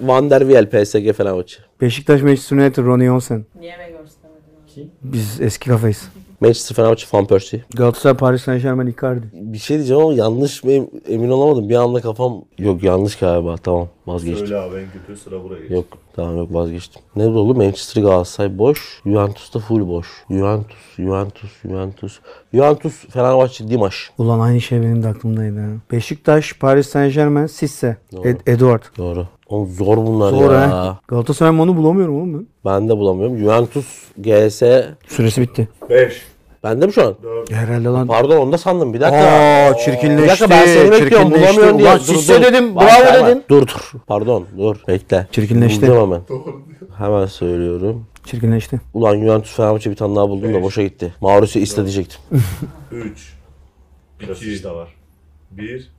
[SPEAKER 2] Van der Wiel PSG Fenerbahçe.
[SPEAKER 3] Beşiktaş Manchester United Ronnie Olsen.
[SPEAKER 5] Niye ben göstermedim abi?
[SPEAKER 3] Biz eski kafayız.
[SPEAKER 2] Manchester Fenerbahçe Van Persie.
[SPEAKER 3] Galatasaray Paris Saint Germain Icardi.
[SPEAKER 2] Bir şey diyeceğim ama yanlış mı em- emin olamadım. Bir anda kafam yok yanlış galiba tamam vazgeçtim.
[SPEAKER 4] Söyle abi en kötü sıra buraya geç.
[SPEAKER 2] Yok tamam yok vazgeçtim. Ne oldu? Manchester Galatasaray boş. Juventus da full boş. Juventus, Juventus, Juventus. Juventus Fenerbahçe Dimash.
[SPEAKER 3] Ulan aynı şey benim de aklımdaydı. ha. Beşiktaş Paris Saint Germain Sisse. Ed- Edward.
[SPEAKER 2] Doğru. Oğlum zor bunlar
[SPEAKER 3] Zor
[SPEAKER 2] ya.
[SPEAKER 3] ha. Galatasaray'ın onu bulamıyorum oğlum ben.
[SPEAKER 2] Ben de bulamıyorum. Juventus, GS.
[SPEAKER 3] Süresi bitti.
[SPEAKER 4] 5,
[SPEAKER 2] Bende mi şu an?
[SPEAKER 4] 4,
[SPEAKER 3] Herhalde lan.
[SPEAKER 2] Pardon onu da sandım bir dakika.
[SPEAKER 3] Aa
[SPEAKER 2] Bir
[SPEAKER 3] çirkinleşti.
[SPEAKER 2] dakika ben seni bekliyorum
[SPEAKER 3] çirkinleşti.
[SPEAKER 2] bulamıyorum diye.
[SPEAKER 3] Ulan
[SPEAKER 2] Dur,
[SPEAKER 3] Sisse
[SPEAKER 2] dur.
[SPEAKER 3] dedim.
[SPEAKER 2] Bak,
[SPEAKER 3] Bravo
[SPEAKER 2] hemen.
[SPEAKER 3] dedin.
[SPEAKER 2] Dur dur. Pardon dur. Bekle.
[SPEAKER 3] Çirkinleşti.
[SPEAKER 2] Buldum hemen. Hemen söylüyorum.
[SPEAKER 3] Çirkinleşti.
[SPEAKER 2] Ulan Juventus Fenerbahçe bir tane daha buldum da
[SPEAKER 4] Evet.
[SPEAKER 2] boşa gitti. Mauricio Isla diyecektim.
[SPEAKER 4] 3, 2, de var. 1,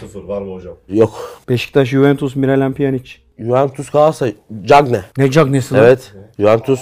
[SPEAKER 4] 0 var mı hocam?
[SPEAKER 2] Yok.
[SPEAKER 3] Beşiktaş Juventus Miralem Pjanic.
[SPEAKER 2] Juventus Galatasaray. Cagne.
[SPEAKER 3] Ne Cagney'si lan?
[SPEAKER 2] Evet. Juventus.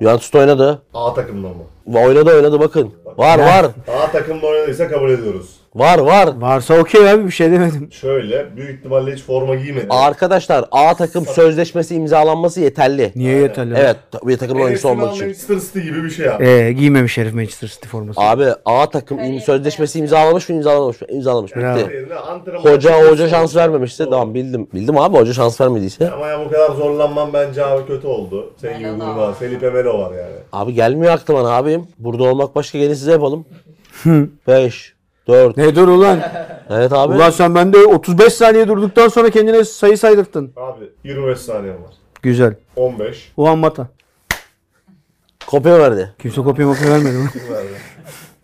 [SPEAKER 2] Juventus'ta oynadı.
[SPEAKER 4] A takımda mı?
[SPEAKER 2] Oynadı oynadı bakın. Var var.
[SPEAKER 4] A takımda oynadıysa kabul ediyoruz.
[SPEAKER 2] Var var.
[SPEAKER 3] Varsa okey abi bir şey demedim.
[SPEAKER 4] Şöyle büyük ihtimalle hiç forma giymedi.
[SPEAKER 2] Arkadaşlar A takım sözleşmesi imzalanması yeterli.
[SPEAKER 3] Niye yeterli?
[SPEAKER 2] Evet bir takım oyuncusu
[SPEAKER 4] Hepsini
[SPEAKER 2] olmak için.
[SPEAKER 4] Manchester City gibi bir şey abi.
[SPEAKER 3] Ee, giymemiş herif Manchester City forması.
[SPEAKER 2] Abi A takım im-
[SPEAKER 5] Kariyer
[SPEAKER 2] sözleşmesi imzalamış mı imzalamamış mı? İmzalamış.
[SPEAKER 3] Bravo.
[SPEAKER 2] Bitti.
[SPEAKER 4] Yerine antrenman-
[SPEAKER 2] Hoca hoca şans vermemişti. Tamam bildim. Bildim abi hoca şans vermediyse.
[SPEAKER 4] Ama ya bu kadar zorlanmam bence abi kötü oldu. Senin gibi
[SPEAKER 5] Melo.
[SPEAKER 4] vurma. Felipe Melo var yani.
[SPEAKER 2] Abi gelmiyor aklıma ne abim. Burada olmak başka gelin size yapalım. 5 4
[SPEAKER 3] Ne dur ulan?
[SPEAKER 2] Evet abi.
[SPEAKER 3] ulan sen bende 35 saniye durduktan sonra kendine sayı saydırttın.
[SPEAKER 4] Abi 25 saniyem var.
[SPEAKER 3] Güzel.
[SPEAKER 4] 15.
[SPEAKER 3] Ulan Mata.
[SPEAKER 2] Kopya verdi.
[SPEAKER 3] Kimse kopya mopya vermedi lan.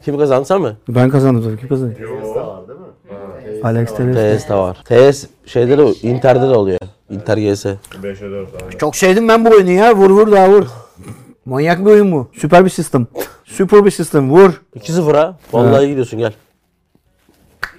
[SPEAKER 2] Kim kazandı sen mi?
[SPEAKER 3] ben kazandım tabii ki kazandım.
[SPEAKER 4] Yo.
[SPEAKER 3] Alex Telles.
[SPEAKER 2] TS de var. TS şeyde de Inter'de de oluyor. Inter GS.
[SPEAKER 4] 5'e 4 abi.
[SPEAKER 3] Çok sevdim ben bu oyunu ya. Vur vur daha vur. Manyak bir oyun bu. Süper bir sistem. Süper bir sistem. Vur.
[SPEAKER 2] 2-0 ha. Vallahi gidiyorsun gel.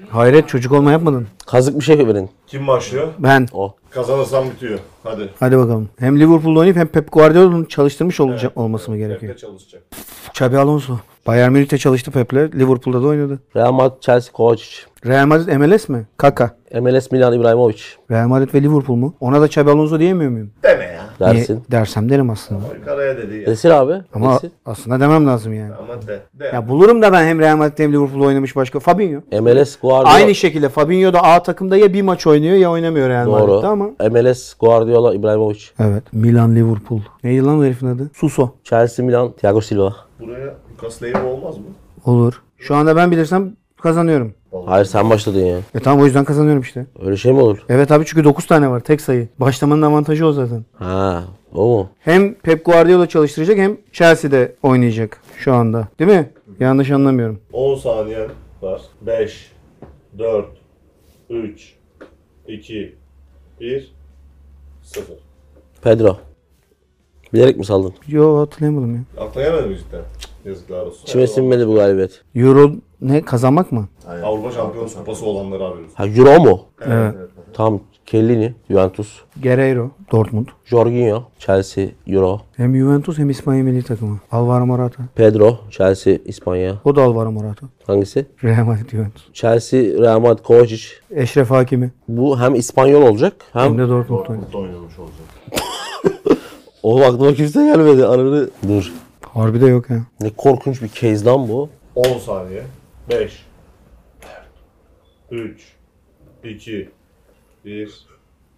[SPEAKER 3] Hayret çocuk olma yapmadın.
[SPEAKER 2] Kazık bir şey verin.
[SPEAKER 4] Kim başlıyor?
[SPEAKER 3] Ben.
[SPEAKER 2] O.
[SPEAKER 4] Kazanırsam bitiyor. Hadi.
[SPEAKER 3] Hadi bakalım. Hem Liverpool'da oynayıp hem Pep Guardiola'nın çalıştırmış olacak olması mı gerekiyor?
[SPEAKER 4] Hep de çalışacak.
[SPEAKER 3] Xabi Alonso. Bayern Münih'te çalıştı Pep'le. Liverpool'da da oynadı.
[SPEAKER 2] Real Madrid Chelsea Kovacic.
[SPEAKER 3] Real Madrid MLS mi? Kaka.
[SPEAKER 2] MLS Milan İbrahimovic
[SPEAKER 3] Real Madrid ve Liverpool mu? Ona da Xabi Alonso diyemiyor muyum?
[SPEAKER 4] Deme ya.
[SPEAKER 2] dersin.
[SPEAKER 3] Niye? Dersem derim aslında.
[SPEAKER 4] Karaya dedi ya.
[SPEAKER 2] Desin abi.
[SPEAKER 3] Ama
[SPEAKER 2] Desin.
[SPEAKER 3] aslında demem lazım yani.
[SPEAKER 4] Ama de. de.
[SPEAKER 3] Ya bulurum da ben hem Real Madrid hem Liverpool'da oynamış başka. Fabinho.
[SPEAKER 2] MLS Guardiola.
[SPEAKER 3] Aynı şey şekilde Fabinho da A takımda ya bir maç oynuyor ya oynamıyor Real Madrid'de
[SPEAKER 2] Doğru.
[SPEAKER 3] ama.
[SPEAKER 2] MLS Guardiola İbrahimovic.
[SPEAKER 3] Evet. Milan Liverpool. Neydi lan o herifin adı? Suso.
[SPEAKER 2] Chelsea Milan Thiago Silva.
[SPEAKER 4] Buraya Lucas Leiva olmaz mı?
[SPEAKER 3] Olur. Şu anda ben bilirsem kazanıyorum.
[SPEAKER 2] Hayır sen başladın ya.
[SPEAKER 3] E tamam o yüzden kazanıyorum işte.
[SPEAKER 2] Öyle şey mi olur?
[SPEAKER 3] Evet abi çünkü 9 tane var tek sayı. Başlamanın avantajı o zaten.
[SPEAKER 2] Ha, o mu?
[SPEAKER 3] Hem Pep Guardiola çalıştıracak hem Chelsea'de oynayacak şu anda. Değil mi? Yanlış anlamıyorum.
[SPEAKER 4] 10 saniyen var. 5, 4, 3, 2, 1 0.
[SPEAKER 2] Pedro. Bilerek mi saldın?
[SPEAKER 3] Yo hatırlayamadım ya.
[SPEAKER 4] Aklına gelmedi mi cidden? Cık, Yazıklar olsun.
[SPEAKER 2] İçime sinmedi bu galibiyet.
[SPEAKER 3] Euro ne kazanmak mı?
[SPEAKER 4] Avrupa Şampiyonası Kupası olanları arıyoruz.
[SPEAKER 2] Ha Euro mu?
[SPEAKER 3] Evet.
[SPEAKER 2] Tam Kellini, Juventus.
[SPEAKER 3] Guerreiro, Dortmund.
[SPEAKER 2] Jorginho, Chelsea, Euro.
[SPEAKER 3] Hem Juventus hem İspanya milli takımı. Alvaro Morata.
[SPEAKER 2] Pedro, Chelsea, İspanya.
[SPEAKER 3] O da Alvaro Morata.
[SPEAKER 2] Hangisi?
[SPEAKER 3] Real Madrid Juventus.
[SPEAKER 2] Chelsea, Real Madrid, Kovacic.
[SPEAKER 3] Eşref Hakimi.
[SPEAKER 2] Bu hem İspanyol olacak
[SPEAKER 3] Hem
[SPEAKER 2] hem...
[SPEAKER 3] de Dortmund oynuyor.
[SPEAKER 4] Burada oynamış olacak.
[SPEAKER 2] Oğlum aklıma kimse gelmedi. Ananı... Dur.
[SPEAKER 3] Harbi de yok ya.
[SPEAKER 2] Ne korkunç bir case lan bu.
[SPEAKER 4] 10 saniye. 5 3 2 1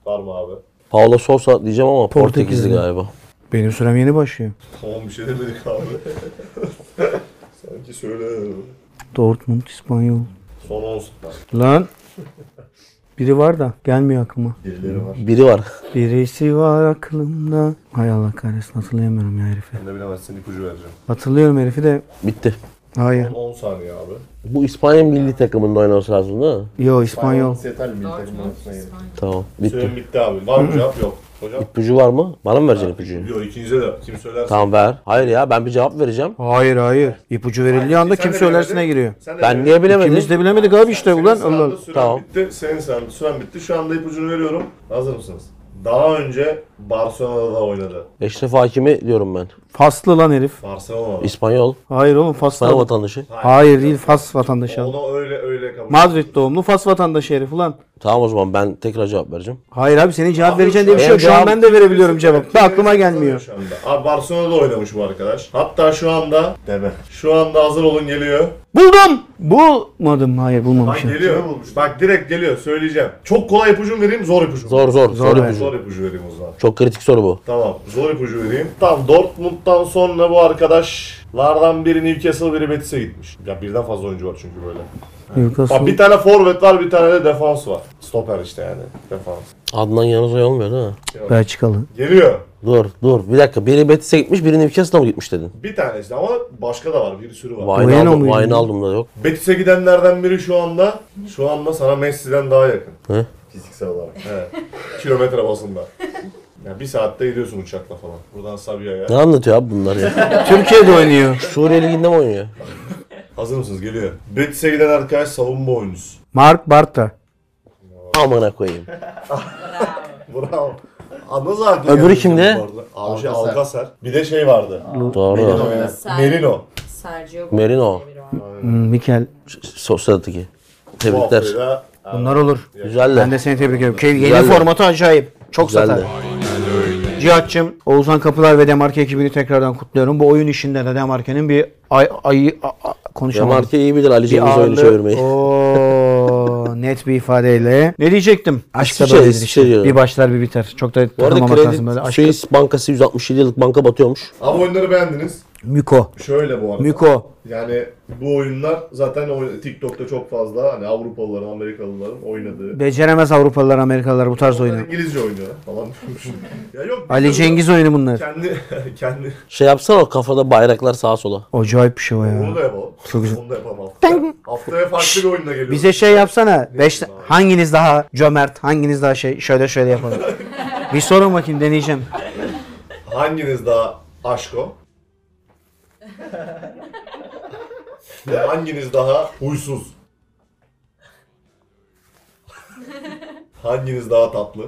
[SPEAKER 4] Var mı abi?
[SPEAKER 2] Paulo Sousa diyeceğim ama Portekizli
[SPEAKER 3] Portekizli.
[SPEAKER 2] galiba.
[SPEAKER 3] Benim sürem yeni başlıyor.
[SPEAKER 4] Tamam bir şey demedik abi. Sanki söylemedim.
[SPEAKER 3] Dortmund, İspanyol.
[SPEAKER 4] Son 10 saniye.
[SPEAKER 3] Lan. Biri var da gelmiyor aklıma.
[SPEAKER 4] Birileri var.
[SPEAKER 2] Biri var.
[SPEAKER 3] Birisi var aklımda. Hay Allah kahretsin hatırlayamıyorum ya herifi.
[SPEAKER 4] Ben de bilemezsin ipucu vereceğim.
[SPEAKER 3] Hatırlıyorum herifi de.
[SPEAKER 2] Bitti.
[SPEAKER 3] Hayır.
[SPEAKER 4] Son 10 saniye abi.
[SPEAKER 2] Bu İspanya milli takımında oynaması lazım değil mi?
[SPEAKER 3] Yo İspanyol.
[SPEAKER 4] Setal milli takımın
[SPEAKER 5] Dortmund,
[SPEAKER 4] arasına girdi.
[SPEAKER 5] İspanya.
[SPEAKER 2] Tamam. Bitti.
[SPEAKER 4] Süren bitti abi. Var mı cevap? Yok. Hocam.
[SPEAKER 2] İpucu var mı? Bana mı vereceksin ipucuyu?
[SPEAKER 4] Yok ikinize de. Kim söylerse.
[SPEAKER 2] Tamam ver. Hayır ya ben bir cevap vereceğim.
[SPEAKER 3] Hayır hayır. İpucu verildiği anda
[SPEAKER 4] Sen
[SPEAKER 3] kim
[SPEAKER 4] de
[SPEAKER 3] söylersine
[SPEAKER 4] bilemedin.
[SPEAKER 3] giriyor.
[SPEAKER 4] Sen de
[SPEAKER 2] Ben niye
[SPEAKER 3] İkimiz
[SPEAKER 2] bilemedim?
[SPEAKER 3] de bilemedik abi işte
[SPEAKER 4] Senin
[SPEAKER 3] ulan.
[SPEAKER 4] sıranda
[SPEAKER 3] Allah.
[SPEAKER 4] Süren
[SPEAKER 2] Tamam.
[SPEAKER 4] bitti. Senin sıran, süren bitti. Şu anda ipucunu veriyorum. Hazır mısınız? Daha önce Barcelona'da da oynadı.
[SPEAKER 2] Eşref Hakimi diyorum ben.
[SPEAKER 3] Faslı lan herif.
[SPEAKER 4] Barcelona'da.
[SPEAKER 2] İspanyol.
[SPEAKER 3] Hayır oğlum Fas.
[SPEAKER 2] Sana vatandaşı.
[SPEAKER 3] Hayır değil Fas vatandaşı. adam.
[SPEAKER 4] Onu öyle öyle kabul
[SPEAKER 3] Madrid doğumlu Fas vatandaşı herif ulan.
[SPEAKER 2] Tamam o zaman ben tekrar cevap vereceğim.
[SPEAKER 3] Hayır abi senin cevap
[SPEAKER 4] Abi
[SPEAKER 3] vereceğin diye bir şey yok. Şu an
[SPEAKER 2] cevap-
[SPEAKER 3] ben de verebiliyorum cevap. Da aklıma
[SPEAKER 4] Kazanıyor
[SPEAKER 3] gelmiyor.
[SPEAKER 4] Şu anda. Abi Barcelona'da oynamış bu arkadaş. Hatta şu anda
[SPEAKER 1] Deme.
[SPEAKER 4] şu anda hazır olun geliyor.
[SPEAKER 3] Buldum. Bulmadım. Hayır
[SPEAKER 4] Bak
[SPEAKER 3] bulmamışım.
[SPEAKER 4] geliyor. Bak direkt geliyor söyleyeceğim. Çok kolay ipucu vereyim zor ipucu.
[SPEAKER 2] Zor zor. Zor,
[SPEAKER 3] Zor,
[SPEAKER 2] ipucu.
[SPEAKER 4] Zor ipucu vereyim o zaman.
[SPEAKER 2] Çok kritik soru bu.
[SPEAKER 4] Tamam zor ipucu vereyim. Tam Dortmund'dan sonra bu arkadaşlardan biri Newcastle biri Betis'e gitmiş. Ya birden fazla oyuncu var çünkü böyle. Bak
[SPEAKER 3] Newcastle.
[SPEAKER 4] bir tane forvet var bir tane de defans var. Stoper işte yani defans.
[SPEAKER 2] Adnan Yanızoy olmuyor değil mi?
[SPEAKER 3] Belçikalı.
[SPEAKER 4] Geliyor.
[SPEAKER 2] Dur dur bir dakika. Biri Betis'e gitmiş biri Newcastle'a mı gitmiş dedin?
[SPEAKER 4] Bir tane işte ama başka da var bir sürü var.
[SPEAKER 3] Bueno
[SPEAKER 2] Wijnaldum,
[SPEAKER 3] muydu?
[SPEAKER 2] Wijnaldum da yok.
[SPEAKER 4] Betis'e gidenlerden biri şu anda şu anda sana Messi'den daha yakın.
[SPEAKER 1] Fiziksel olarak.
[SPEAKER 4] Evet. Kilometre basında. Ya bir saatte gidiyorsun uçakla falan. Buradan Sabiha'ya.
[SPEAKER 2] Ne anlatıyor abi bunlar ya?
[SPEAKER 3] Türkiye'de oynuyor.
[SPEAKER 2] Suriye Ligi'nde mi oynuyor?
[SPEAKER 4] Hazır mısınız? Geliyor. Betis'e giden arkadaş savunma oyuncusu.
[SPEAKER 3] Mark Bartra.
[SPEAKER 2] Amına koyayım.
[SPEAKER 4] Bravo. Aa, nasıl aklı
[SPEAKER 2] Öbürü
[SPEAKER 4] geldi
[SPEAKER 2] kimdi?
[SPEAKER 4] bu arada? Abi şey
[SPEAKER 1] Alcázar.
[SPEAKER 4] Alcázar. Bir de şey vardı.
[SPEAKER 2] Doğru.
[SPEAKER 1] Oynar.
[SPEAKER 5] Ser-
[SPEAKER 4] Merino.
[SPEAKER 5] Sergio
[SPEAKER 2] Merino.
[SPEAKER 5] Biri var.
[SPEAKER 3] Hmm, Mikel.
[SPEAKER 2] Sosyadaki.
[SPEAKER 4] Bu
[SPEAKER 2] Tebrikler.
[SPEAKER 4] haftayı da
[SPEAKER 3] Bunlar olur.
[SPEAKER 2] Güzel
[SPEAKER 3] Ben
[SPEAKER 2] de.
[SPEAKER 3] de seni tebrik ediyorum. Ke- Yeni
[SPEAKER 2] Güzel de.
[SPEAKER 3] formatı acayip. Çok
[SPEAKER 2] Güzel
[SPEAKER 3] satar.
[SPEAKER 2] de.
[SPEAKER 3] Cihat'cığım, Oğuzhan Kapılar ve Demarke ekibini tekrardan kutluyorum. Bu oyun işinde de Demarke'nin bir ay, ayı a- a- konuşamadım.
[SPEAKER 2] Demarke iyi bilir Ali
[SPEAKER 3] bir
[SPEAKER 2] Cengiz oyunu
[SPEAKER 3] ağırlığı-
[SPEAKER 2] çevirmeyi.
[SPEAKER 3] Oo, net bir ifadeyle. Ne diyecektim? Aşkta
[SPEAKER 2] İsviçre,
[SPEAKER 3] böyledir işte.
[SPEAKER 2] İsviçre.
[SPEAKER 3] Bir başlar bir biter. Çok da
[SPEAKER 2] Şey, Bu arada
[SPEAKER 3] tanımamak lazım böyle.
[SPEAKER 2] kredi şey-
[SPEAKER 3] Aşkta.
[SPEAKER 2] Swiss bankası 167 yıllık banka batıyormuş.
[SPEAKER 4] Abi oyunları beğendiniz.
[SPEAKER 3] Müko.
[SPEAKER 4] Şöyle bu arada.
[SPEAKER 3] Müko.
[SPEAKER 4] Yani bu oyunlar zaten oyn- TikTok'ta çok fazla hani Avrupalıların, Amerikalıların oynadığı.
[SPEAKER 3] Beceremez Avrupalılar, Amerikalılar bu tarz oyunu.
[SPEAKER 4] İngilizce oynuyor falan diyormuşum. ya yok.
[SPEAKER 3] Ali Cengiz oyunu bunlar.
[SPEAKER 4] Kendi, kendi.
[SPEAKER 2] Şey yapsana o kafada bayraklar sağa sola.
[SPEAKER 3] Acayip bir şey o ya.
[SPEAKER 4] Onu da yapalım.
[SPEAKER 3] Çok güzel.
[SPEAKER 4] Onu da yapalım haftaya. haftaya farklı bir oyunla geliyoruz.
[SPEAKER 3] Bize şey yapsana. Beş, hanginiz daha cömert, hanginiz daha şey şöyle şöyle yapalım. bir sorun bakayım deneyeceğim.
[SPEAKER 4] Hanginiz daha aşko? Ve hanginiz daha huysuz? hanginiz daha tatlı?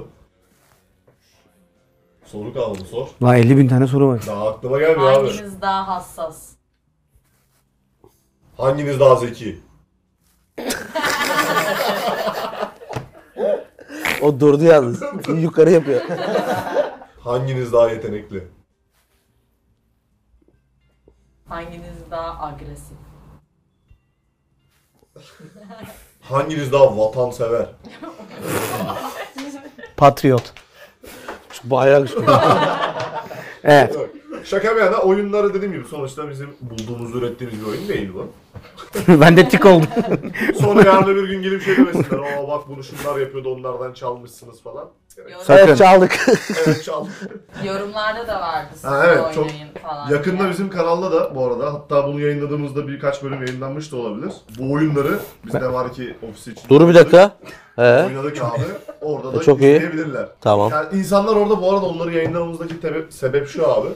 [SPEAKER 4] Soru kaldı sor.
[SPEAKER 3] La 50 bin tane soru var.
[SPEAKER 4] Daha aklıma gelmiyor abi.
[SPEAKER 5] Hanginiz daha hassas?
[SPEAKER 4] Hanginiz daha zeki?
[SPEAKER 2] O durdu yalnız. Yukarı yapıyor.
[SPEAKER 4] Hanginiz daha yetenekli?
[SPEAKER 5] Hanginiz daha agresif?
[SPEAKER 4] Hanginiz daha vatansever?
[SPEAKER 3] Patriot.
[SPEAKER 2] Bayrak
[SPEAKER 3] Evet.
[SPEAKER 4] Yok. Şaka bir yana oyunları dediğim gibi sonuçta bizim bulduğumuz, ürettiğimiz bir oyun değil bu.
[SPEAKER 3] ben de tik oldum.
[SPEAKER 4] Sonra yarın bir gün gelip şey demesinler. Aa bak bunu şunlar yapıyordu onlardan çalmışsınız falan. Evet,
[SPEAKER 5] Yorum-
[SPEAKER 3] Sakın.
[SPEAKER 2] Evet çaldık.
[SPEAKER 4] evet çal.
[SPEAKER 5] Yorumlarda da vardı siz
[SPEAKER 4] Ha, evet, çok
[SPEAKER 5] oynayın falan.
[SPEAKER 4] Yakında
[SPEAKER 5] diye.
[SPEAKER 4] bizim kanalda da bu arada hatta bunu yayınladığımızda birkaç bölüm yayınlanmış da olabilir. Bu oyunları biz de var ki ofisi için.
[SPEAKER 2] Dur bir dakika. He.
[SPEAKER 4] Oynadık abi. Orada da
[SPEAKER 2] çok iyi.
[SPEAKER 4] izleyebilirler.
[SPEAKER 2] Tamam.
[SPEAKER 4] Yani insanlar orada bu arada onları yayınlamamızdaki tebe- sebep şu abi.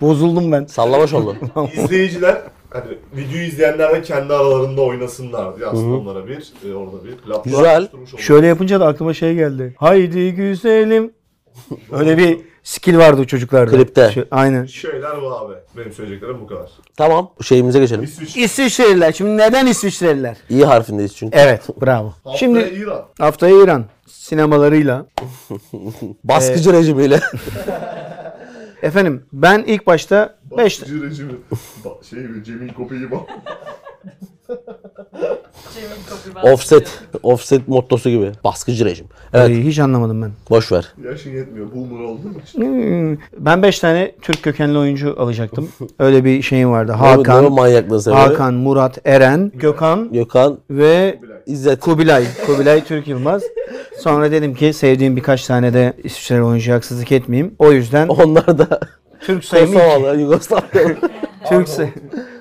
[SPEAKER 3] Bozuldum ben.
[SPEAKER 2] Sallamaş oldun.
[SPEAKER 4] İzleyiciler hani videoyu izleyenler de kendi aralarında oynasınlar diye aslında onlara bir e, orada bir laflar
[SPEAKER 2] Güzel.
[SPEAKER 4] oluşturmuş olduk.
[SPEAKER 3] Şöyle yapınca da aklıma şey geldi. Haydi güzelim. Öyle bir skill vardı o çocuklarda.
[SPEAKER 2] Klipte.
[SPEAKER 3] Şu- aynen.
[SPEAKER 4] Şeyler bu abi. Benim söyleyeceklerim bu kadar.
[SPEAKER 2] Tamam. Şeyimize geçelim.
[SPEAKER 4] İsviçre,
[SPEAKER 3] İsviçreliler. Şimdi neden İsviçreliler?
[SPEAKER 2] İyi harfindeyiz çünkü.
[SPEAKER 3] Evet, bravo.
[SPEAKER 4] Şimdi
[SPEAKER 3] Şimdi
[SPEAKER 4] İran.
[SPEAKER 3] haftaya İran sinemalarıyla.
[SPEAKER 2] Baskıcı rejimiyle.
[SPEAKER 3] Efendim ben ilk başta 5
[SPEAKER 4] Batıcı rejimi. Ba- şey mi? Cemil Kope'yi bak.
[SPEAKER 5] Cemil Kapı ben
[SPEAKER 2] offset. Offset mottosu gibi. Baskıcı rejim. Evet.
[SPEAKER 3] hiç anlamadım ben.
[SPEAKER 2] Boş ver.
[SPEAKER 4] Yaşın yetmiyor. Boomer oldun.
[SPEAKER 3] Ben 5 tane Türk kökenli oyuncu alacaktım. Öyle bir şeyim vardı.
[SPEAKER 2] Hakan. Ne
[SPEAKER 3] Hakan,
[SPEAKER 2] manyaklığı sebebi?
[SPEAKER 3] Hakan, Murat, Eren, Gökhan
[SPEAKER 2] Gökhan.
[SPEAKER 3] ve
[SPEAKER 2] İzzet.
[SPEAKER 3] Kubilay. Kubilay Türk Yılmaz. Sonra dedim ki sevdiğim birkaç tane de İsviçreli oyuncuya haksızlık etmeyeyim. O yüzden
[SPEAKER 2] Onlar da
[SPEAKER 3] Türk sayımı
[SPEAKER 2] Kosovalı, Yugoslavyalı.
[SPEAKER 3] Türk, say-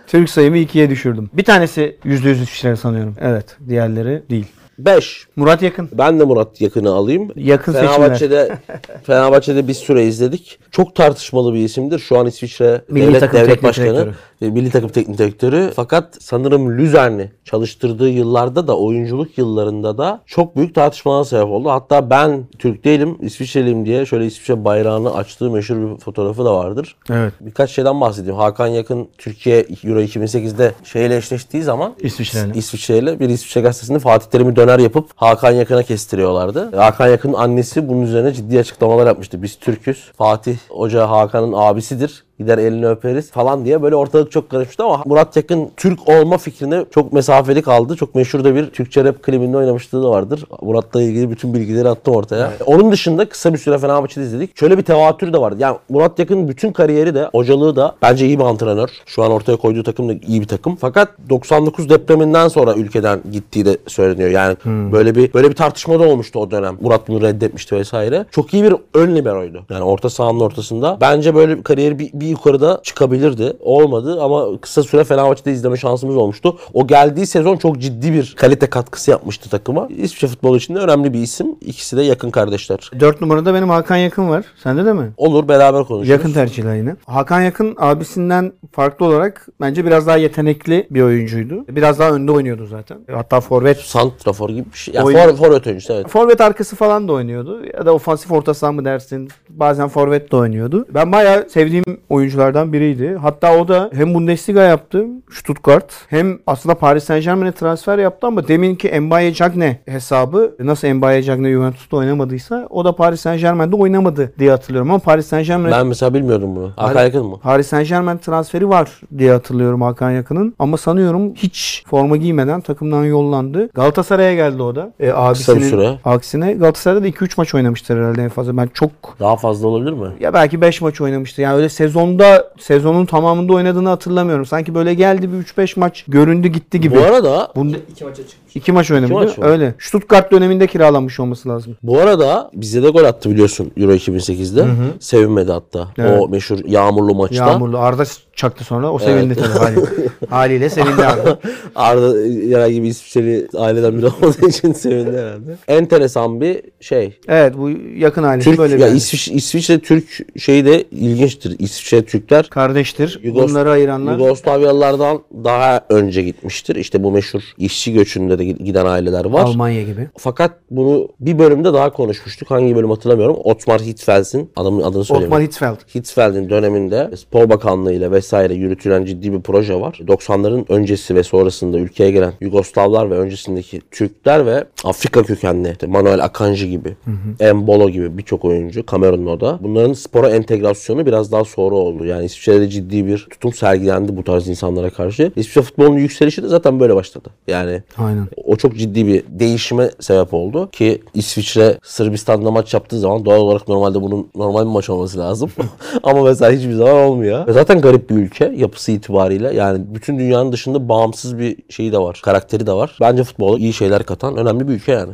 [SPEAKER 3] Türk sayımı ikiye düşürdüm. Bir tanesi %100 İsviçreli sanıyorum. Evet. Diğerleri değil.
[SPEAKER 2] 5.
[SPEAKER 3] Murat yakın.
[SPEAKER 2] Ben de Murat Yakın'ı alayım.
[SPEAKER 3] Yakın seçimler.
[SPEAKER 2] Fenerbahçe'de Fenerbahçe'de bir süre izledik. Çok tartışmalı bir isimdir. Şu an İsviçre
[SPEAKER 3] Milli
[SPEAKER 2] devlet
[SPEAKER 3] takım
[SPEAKER 2] devlet
[SPEAKER 3] teknik
[SPEAKER 2] başkanı
[SPEAKER 3] direktörü.
[SPEAKER 2] ve milli takım teknik direktörü. Fakat sanırım Luzern'i çalıştırdığı yıllarda da oyunculuk yıllarında da çok büyük tartışmalara sebep oldu. Hatta ben Türk değilim, İsviçreliyim diye şöyle İsviçre bayrağını açtığı meşhur bir fotoğrafı da vardır.
[SPEAKER 3] Evet.
[SPEAKER 2] Birkaç şeyden bahsedeyim. Hakan Yakın Türkiye Euro 2008'de şeyle eşleştiği zaman
[SPEAKER 3] İsviçre'yle.
[SPEAKER 2] İsviçre'yle bir İsviçre gazetesinde Fatih Terim'i döner yapıp Hakan Yakın'a kestiriyorlardı. Hakan Yakın'ın annesi bunun üzerine ciddi açıklamalar yapmıştı. Biz Türk'üz. Fatih Hoca Hakan'ın abisidir. Gider elini öperiz falan diye böyle ortalık çok karışmıştı ama Murat Yakın Türk olma fikrine çok mesafeli kaldı. Çok meşhur da bir Türkçe rap klibinde oynamışlığı da vardır. Murat'la ilgili bütün bilgileri attım ortaya. Onun dışında kısa bir süre Fenerbahçe'de izledik. Şöyle bir tevatür de vardı. Yani Murat Yakın'ın bütün kariyeri de, hocalığı da bence iyi bir antrenör. Şu an ortaya koyduğu takım da iyi bir takım. Fakat 99 depreminden sonra ülkeden gittiği de söyleniyor. Yani böyle bir böyle bir tartışma da olmuştu o dönem. Murat bunu reddetmişti vesaire. Çok iyi bir ön liberoydu. Yani orta sahanın ortasında. Bence böyle bir kariyeri bir, bir yukarıda çıkabilirdi. Olmadı ama kısa süre Fenerbahçe'de izleme şansımız olmuştu. O geldiği sezon çok ciddi bir kalite katkısı yapmıştı takıma. İsviçre futbolu için de önemli bir isim. İkisi de yakın kardeşler.
[SPEAKER 3] 4 numarada benim Hakan Yakın var. Sende de mi?
[SPEAKER 2] Olur beraber konuşuruz.
[SPEAKER 3] Yakın tercihler yine. Hakan Yakın abisinden farklı olarak bence biraz daha yetenekli bir oyuncuydu. Biraz daha önde oynuyordu zaten. Hatta forvet
[SPEAKER 2] Santrafor gibi bir şey. Yani
[SPEAKER 3] Oyun-
[SPEAKER 2] for, forvet oyuncusu evet.
[SPEAKER 3] Forvet arkası falan da oynuyordu. Ya da ofansif orta saha mı dersin? Bazen forvet de oynuyordu. Ben bayağı sevdiğim oyunculardan biriydi. Hatta o da hem Bundesliga yaptı, Stuttgart. Hem aslında Paris Saint Germain'e transfer yaptı ama deminki Mbaye Cagne hesabı nasıl Mbaye Cagne Juventus'ta oynamadıysa o da Paris Saint Germain'de oynamadı diye hatırlıyorum ama Paris Saint Germain'e
[SPEAKER 2] Ben mesela bilmiyordum bunu.
[SPEAKER 3] Hani-
[SPEAKER 2] Hakan Yakın mı?
[SPEAKER 3] Paris Saint Germain transferi var diye hatırlıyorum Hakan Yakın'ın. Ama sanıyorum hiç forma giymeden takımdan yollandı. Galatasaray'a geldi o da. E, abisinin
[SPEAKER 2] süre.
[SPEAKER 3] aksine. Galatasaray'da da 2-3 maç oynamıştır herhalde en fazla. Ben çok
[SPEAKER 2] Daha fazla olabilir mi?
[SPEAKER 3] ya belki 5 maç oynamıştı. Yani öyle sezonda sezonun tamamında oynadığını hatırlamıyorum. Sanki böyle geldi bir 3-5 maç göründü gitti gibi.
[SPEAKER 2] Bu arada
[SPEAKER 3] Bunda
[SPEAKER 1] İki maça çıkmış.
[SPEAKER 3] 2 maç oynamıştı.
[SPEAKER 2] maç mı?
[SPEAKER 3] öyle. Stuttgart döneminde kiralanmış olması lazım.
[SPEAKER 2] bu arada bize de gol attı biliyorsun Euro 2008'de. Sevinmedi hatta.
[SPEAKER 3] Evet.
[SPEAKER 2] O meşhur yağmurlu maçta.
[SPEAKER 3] Yağmurlu Arda çaktı sonra. O sevindi tabii haliyle. haliyle sevindi Arda.
[SPEAKER 2] Arda herhangi gibi İsviçreli aileden biri olmadığı için sevindi herhalde. Enteresan bir şey.
[SPEAKER 3] Evet bu yakın ailesi
[SPEAKER 2] Türk,
[SPEAKER 3] böyle bir
[SPEAKER 2] ya
[SPEAKER 3] aile.
[SPEAKER 2] İsviçre, İsviçre Türk şeyi de ilginçtir. İsviçre Türkler
[SPEAKER 3] kardeştir.
[SPEAKER 2] Yugos-
[SPEAKER 3] Bunları ayıranlar.
[SPEAKER 2] Yugoslavyalılardan daha önce gitmiştir. İşte bu meşhur işçi göçünde de giden aileler var.
[SPEAKER 3] Almanya gibi.
[SPEAKER 2] Fakat bunu bir bölümde daha konuşmuştuk. Hangi bölüm hatırlamıyorum. Otmar Hitzfels'in adamın adını söyleyeyim.
[SPEAKER 3] Otmar Hitzfeld.
[SPEAKER 2] Hitzfeld'in döneminde Spor Bakanlığı ile vesaire yürütülen ciddi bir proje var. 90'ların öncesi ve sonrasında ülkeye gelen Yugoslavlar ve öncesindeki Türkler ve Afrika kökenli işte Manuel Akanji gibi, Embolo gibi birçok oyuncu, Cameron Noda. Bunların spora entegrasyonu biraz daha sonra oldu. Yani İsviçre'de ciddi bir tutum sergilendi bu tarz insanlara karşı. İsviçre futbolunun yükselişi de zaten böyle başladı. Yani
[SPEAKER 3] Aynen.
[SPEAKER 2] o çok ciddi bir değişime sebep oldu ki İsviçre Sırbistan'la maç yaptığı zaman doğal olarak normalde bunun normal bir maç olması lazım. Ama mesela hiçbir zaman olmuyor. Ve zaten garip bir ülke yapısı itibariyle. Yani bütün dünyanın dışında bağımsız bir şeyi de var. Karakteri de var. Bence futbola iyi şeyler katan önemli bir ülke yani.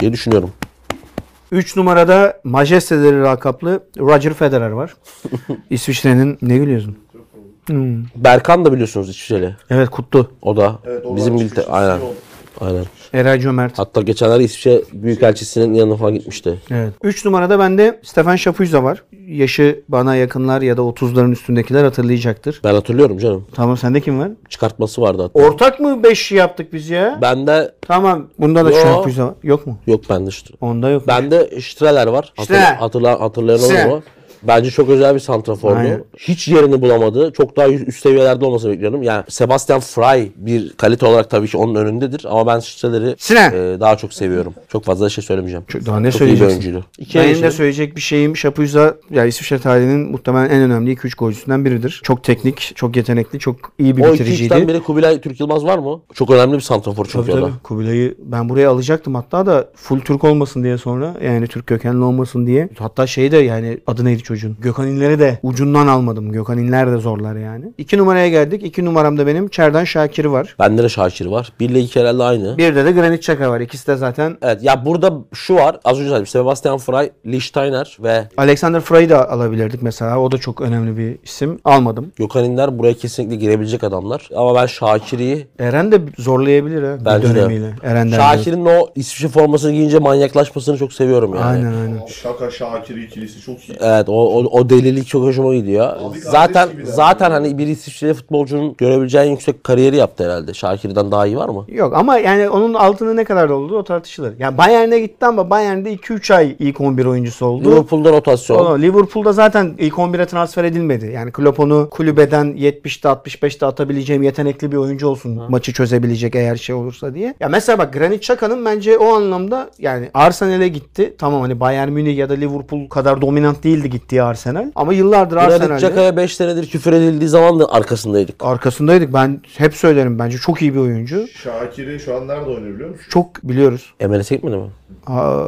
[SPEAKER 2] Diye düşünüyorum.
[SPEAKER 3] 3 numarada majesteleri lakaplı Roger Federer var. İsviçre'nin ne gülüyorsun?
[SPEAKER 2] Berkan da biliyorsunuz İsviçreli.
[SPEAKER 3] Evet kutlu.
[SPEAKER 2] O da
[SPEAKER 4] Evet, oradan
[SPEAKER 2] bizim
[SPEAKER 4] çıkmış
[SPEAKER 2] bilte
[SPEAKER 4] isim
[SPEAKER 2] aynen.
[SPEAKER 4] oldu.
[SPEAKER 2] Aynen.
[SPEAKER 3] Eray Cömert.
[SPEAKER 2] Hatta geçenlerde İsviçre Büyükelçisi'nin yanına falan gitmişti.
[SPEAKER 3] Evet. 3 numarada bende Stefan Şapuza var. Yaşı bana yakınlar ya da 30'ların üstündekiler hatırlayacaktır.
[SPEAKER 2] Ben hatırlıyorum canım.
[SPEAKER 3] Tamam sende kim var?
[SPEAKER 2] Çıkartması vardı hatta.
[SPEAKER 3] Ortak mı 5 yaptık biz ya?
[SPEAKER 2] Bende
[SPEAKER 3] Tamam. Bunda da
[SPEAKER 2] Yo.
[SPEAKER 3] Şapuza var. Yok mu?
[SPEAKER 2] yok bende işte.
[SPEAKER 3] Onda yok.
[SPEAKER 2] Bende Streler var.
[SPEAKER 3] Streller.
[SPEAKER 2] Hatırla, hatırla, hatırlayan olur
[SPEAKER 3] Streller.
[SPEAKER 2] mu? Bence çok özel bir santrafordu.
[SPEAKER 3] Aynen.
[SPEAKER 2] Hiç yerini bulamadı. Çok daha üst seviyelerde olmasını bekliyorum. Yani Sebastian Fry bir kalite olarak tabii ki onun önündedir. Ama ben Streler'i
[SPEAKER 3] Streller.
[SPEAKER 2] e, daha çok seviyorum. Çok fazla şey söylemeyeceğim.
[SPEAKER 3] Çok- daha ne
[SPEAKER 2] çok iyi bir
[SPEAKER 3] söyleyeceksin?
[SPEAKER 2] oyuncuydu. İki
[SPEAKER 3] Benim
[SPEAKER 2] yaşında-
[SPEAKER 3] de Şey söyleyecek bir şeyim Şapuza ya İsviçre tarihinin muhtemelen en önemli 2-3 golcüsünden biridir. Çok teknik, çok yetenekli, çok iyi bir
[SPEAKER 2] o iki
[SPEAKER 3] bitiriciydi.
[SPEAKER 2] üçten biri Kubilay Türk Yılmaz var mı? Çok önemli bir santrafor çünkü
[SPEAKER 3] Tabii
[SPEAKER 2] o da.
[SPEAKER 3] tabii. Kubilay'ı ben buraya alacaktım hatta da full Türk olmasın diye sonra yani Türk kökenli olmasın diye. Hatta şey de yani adı neydi çocuğun? Gökhan İnler'i de ucundan almadım. Gökhan İnler de zorlar yani. İki numaraya geldik. İki numaramda benim Çerdan Şakir var.
[SPEAKER 2] Bende de Şakir var. Bir ile iki herhalde aynı.
[SPEAKER 3] Bir de de Granit Xhaka var. İkisi de zaten
[SPEAKER 2] Evet ya burada şu var. Az önce söyledim. Sebastian Fry, Lee Steiner ve
[SPEAKER 3] Alexander Frey'i de alabilirdik mesela. O da çok önemli bir isim. Almadım.
[SPEAKER 2] Gökhan İnler buraya kesinlikle girebilecek adamlar. Ama ben Şakir'i
[SPEAKER 3] Eren de zorlayabilir ha.
[SPEAKER 2] Bence
[SPEAKER 3] bir
[SPEAKER 2] de.
[SPEAKER 3] dönemiyle. Eren'den.
[SPEAKER 2] Şakir'in o İsviçre formasını giyince manyaklaşmasını çok seviyorum yani.
[SPEAKER 3] Aynen aynen.
[SPEAKER 4] Şaka Şakir ikilisi çok iyi.
[SPEAKER 2] Evet o, o, o delilik çok hoşuma gidiyor.
[SPEAKER 4] kardeş
[SPEAKER 2] zaten
[SPEAKER 4] gibi yani.
[SPEAKER 2] zaten hani bir İsviçreli futbolcunun görebileceğin yüksek kariyeri yaptı herhalde. Şakir'den daha iyi var mı?
[SPEAKER 3] Yok ama yani onun altını ne kadar oldu o tartışılır. Yani Bayern'e gitti ama Bayern'de 2-3 ay ilk 11 oyuncusu oldu.
[SPEAKER 2] Liverpool'da rotasyon.
[SPEAKER 3] Oğlum, Liverpool'da zaten ilk 11'e transfer edilmedi. Yani Klopp onu kulübeden 70'te 65'te atabileceğim yetenekli bir oyuncu olsun. Maçı çözebilecek eğer şey olursa diye. Ya mesela bak Granit Xhaka'nın bence o anlamda yani Arsenal'e gitti. Tamam hani Bayern Münih ya da Liverpool kadar dominant değildi gittiği Arsenal. Ama yıllardır
[SPEAKER 2] Granit
[SPEAKER 3] Arsenal'de
[SPEAKER 2] Xhaka'ya 5 senedir küfür edildiği zaman da arkasındaydık.
[SPEAKER 3] arkasındaydık. Ben hep söylerim bence çok iyi bir oyuncu.
[SPEAKER 4] Şakir'i şu an nerede oynuyor biliyor musun?
[SPEAKER 3] Çok biliyoruz.
[SPEAKER 2] MLS'e gitmedi mi?
[SPEAKER 3] Aa,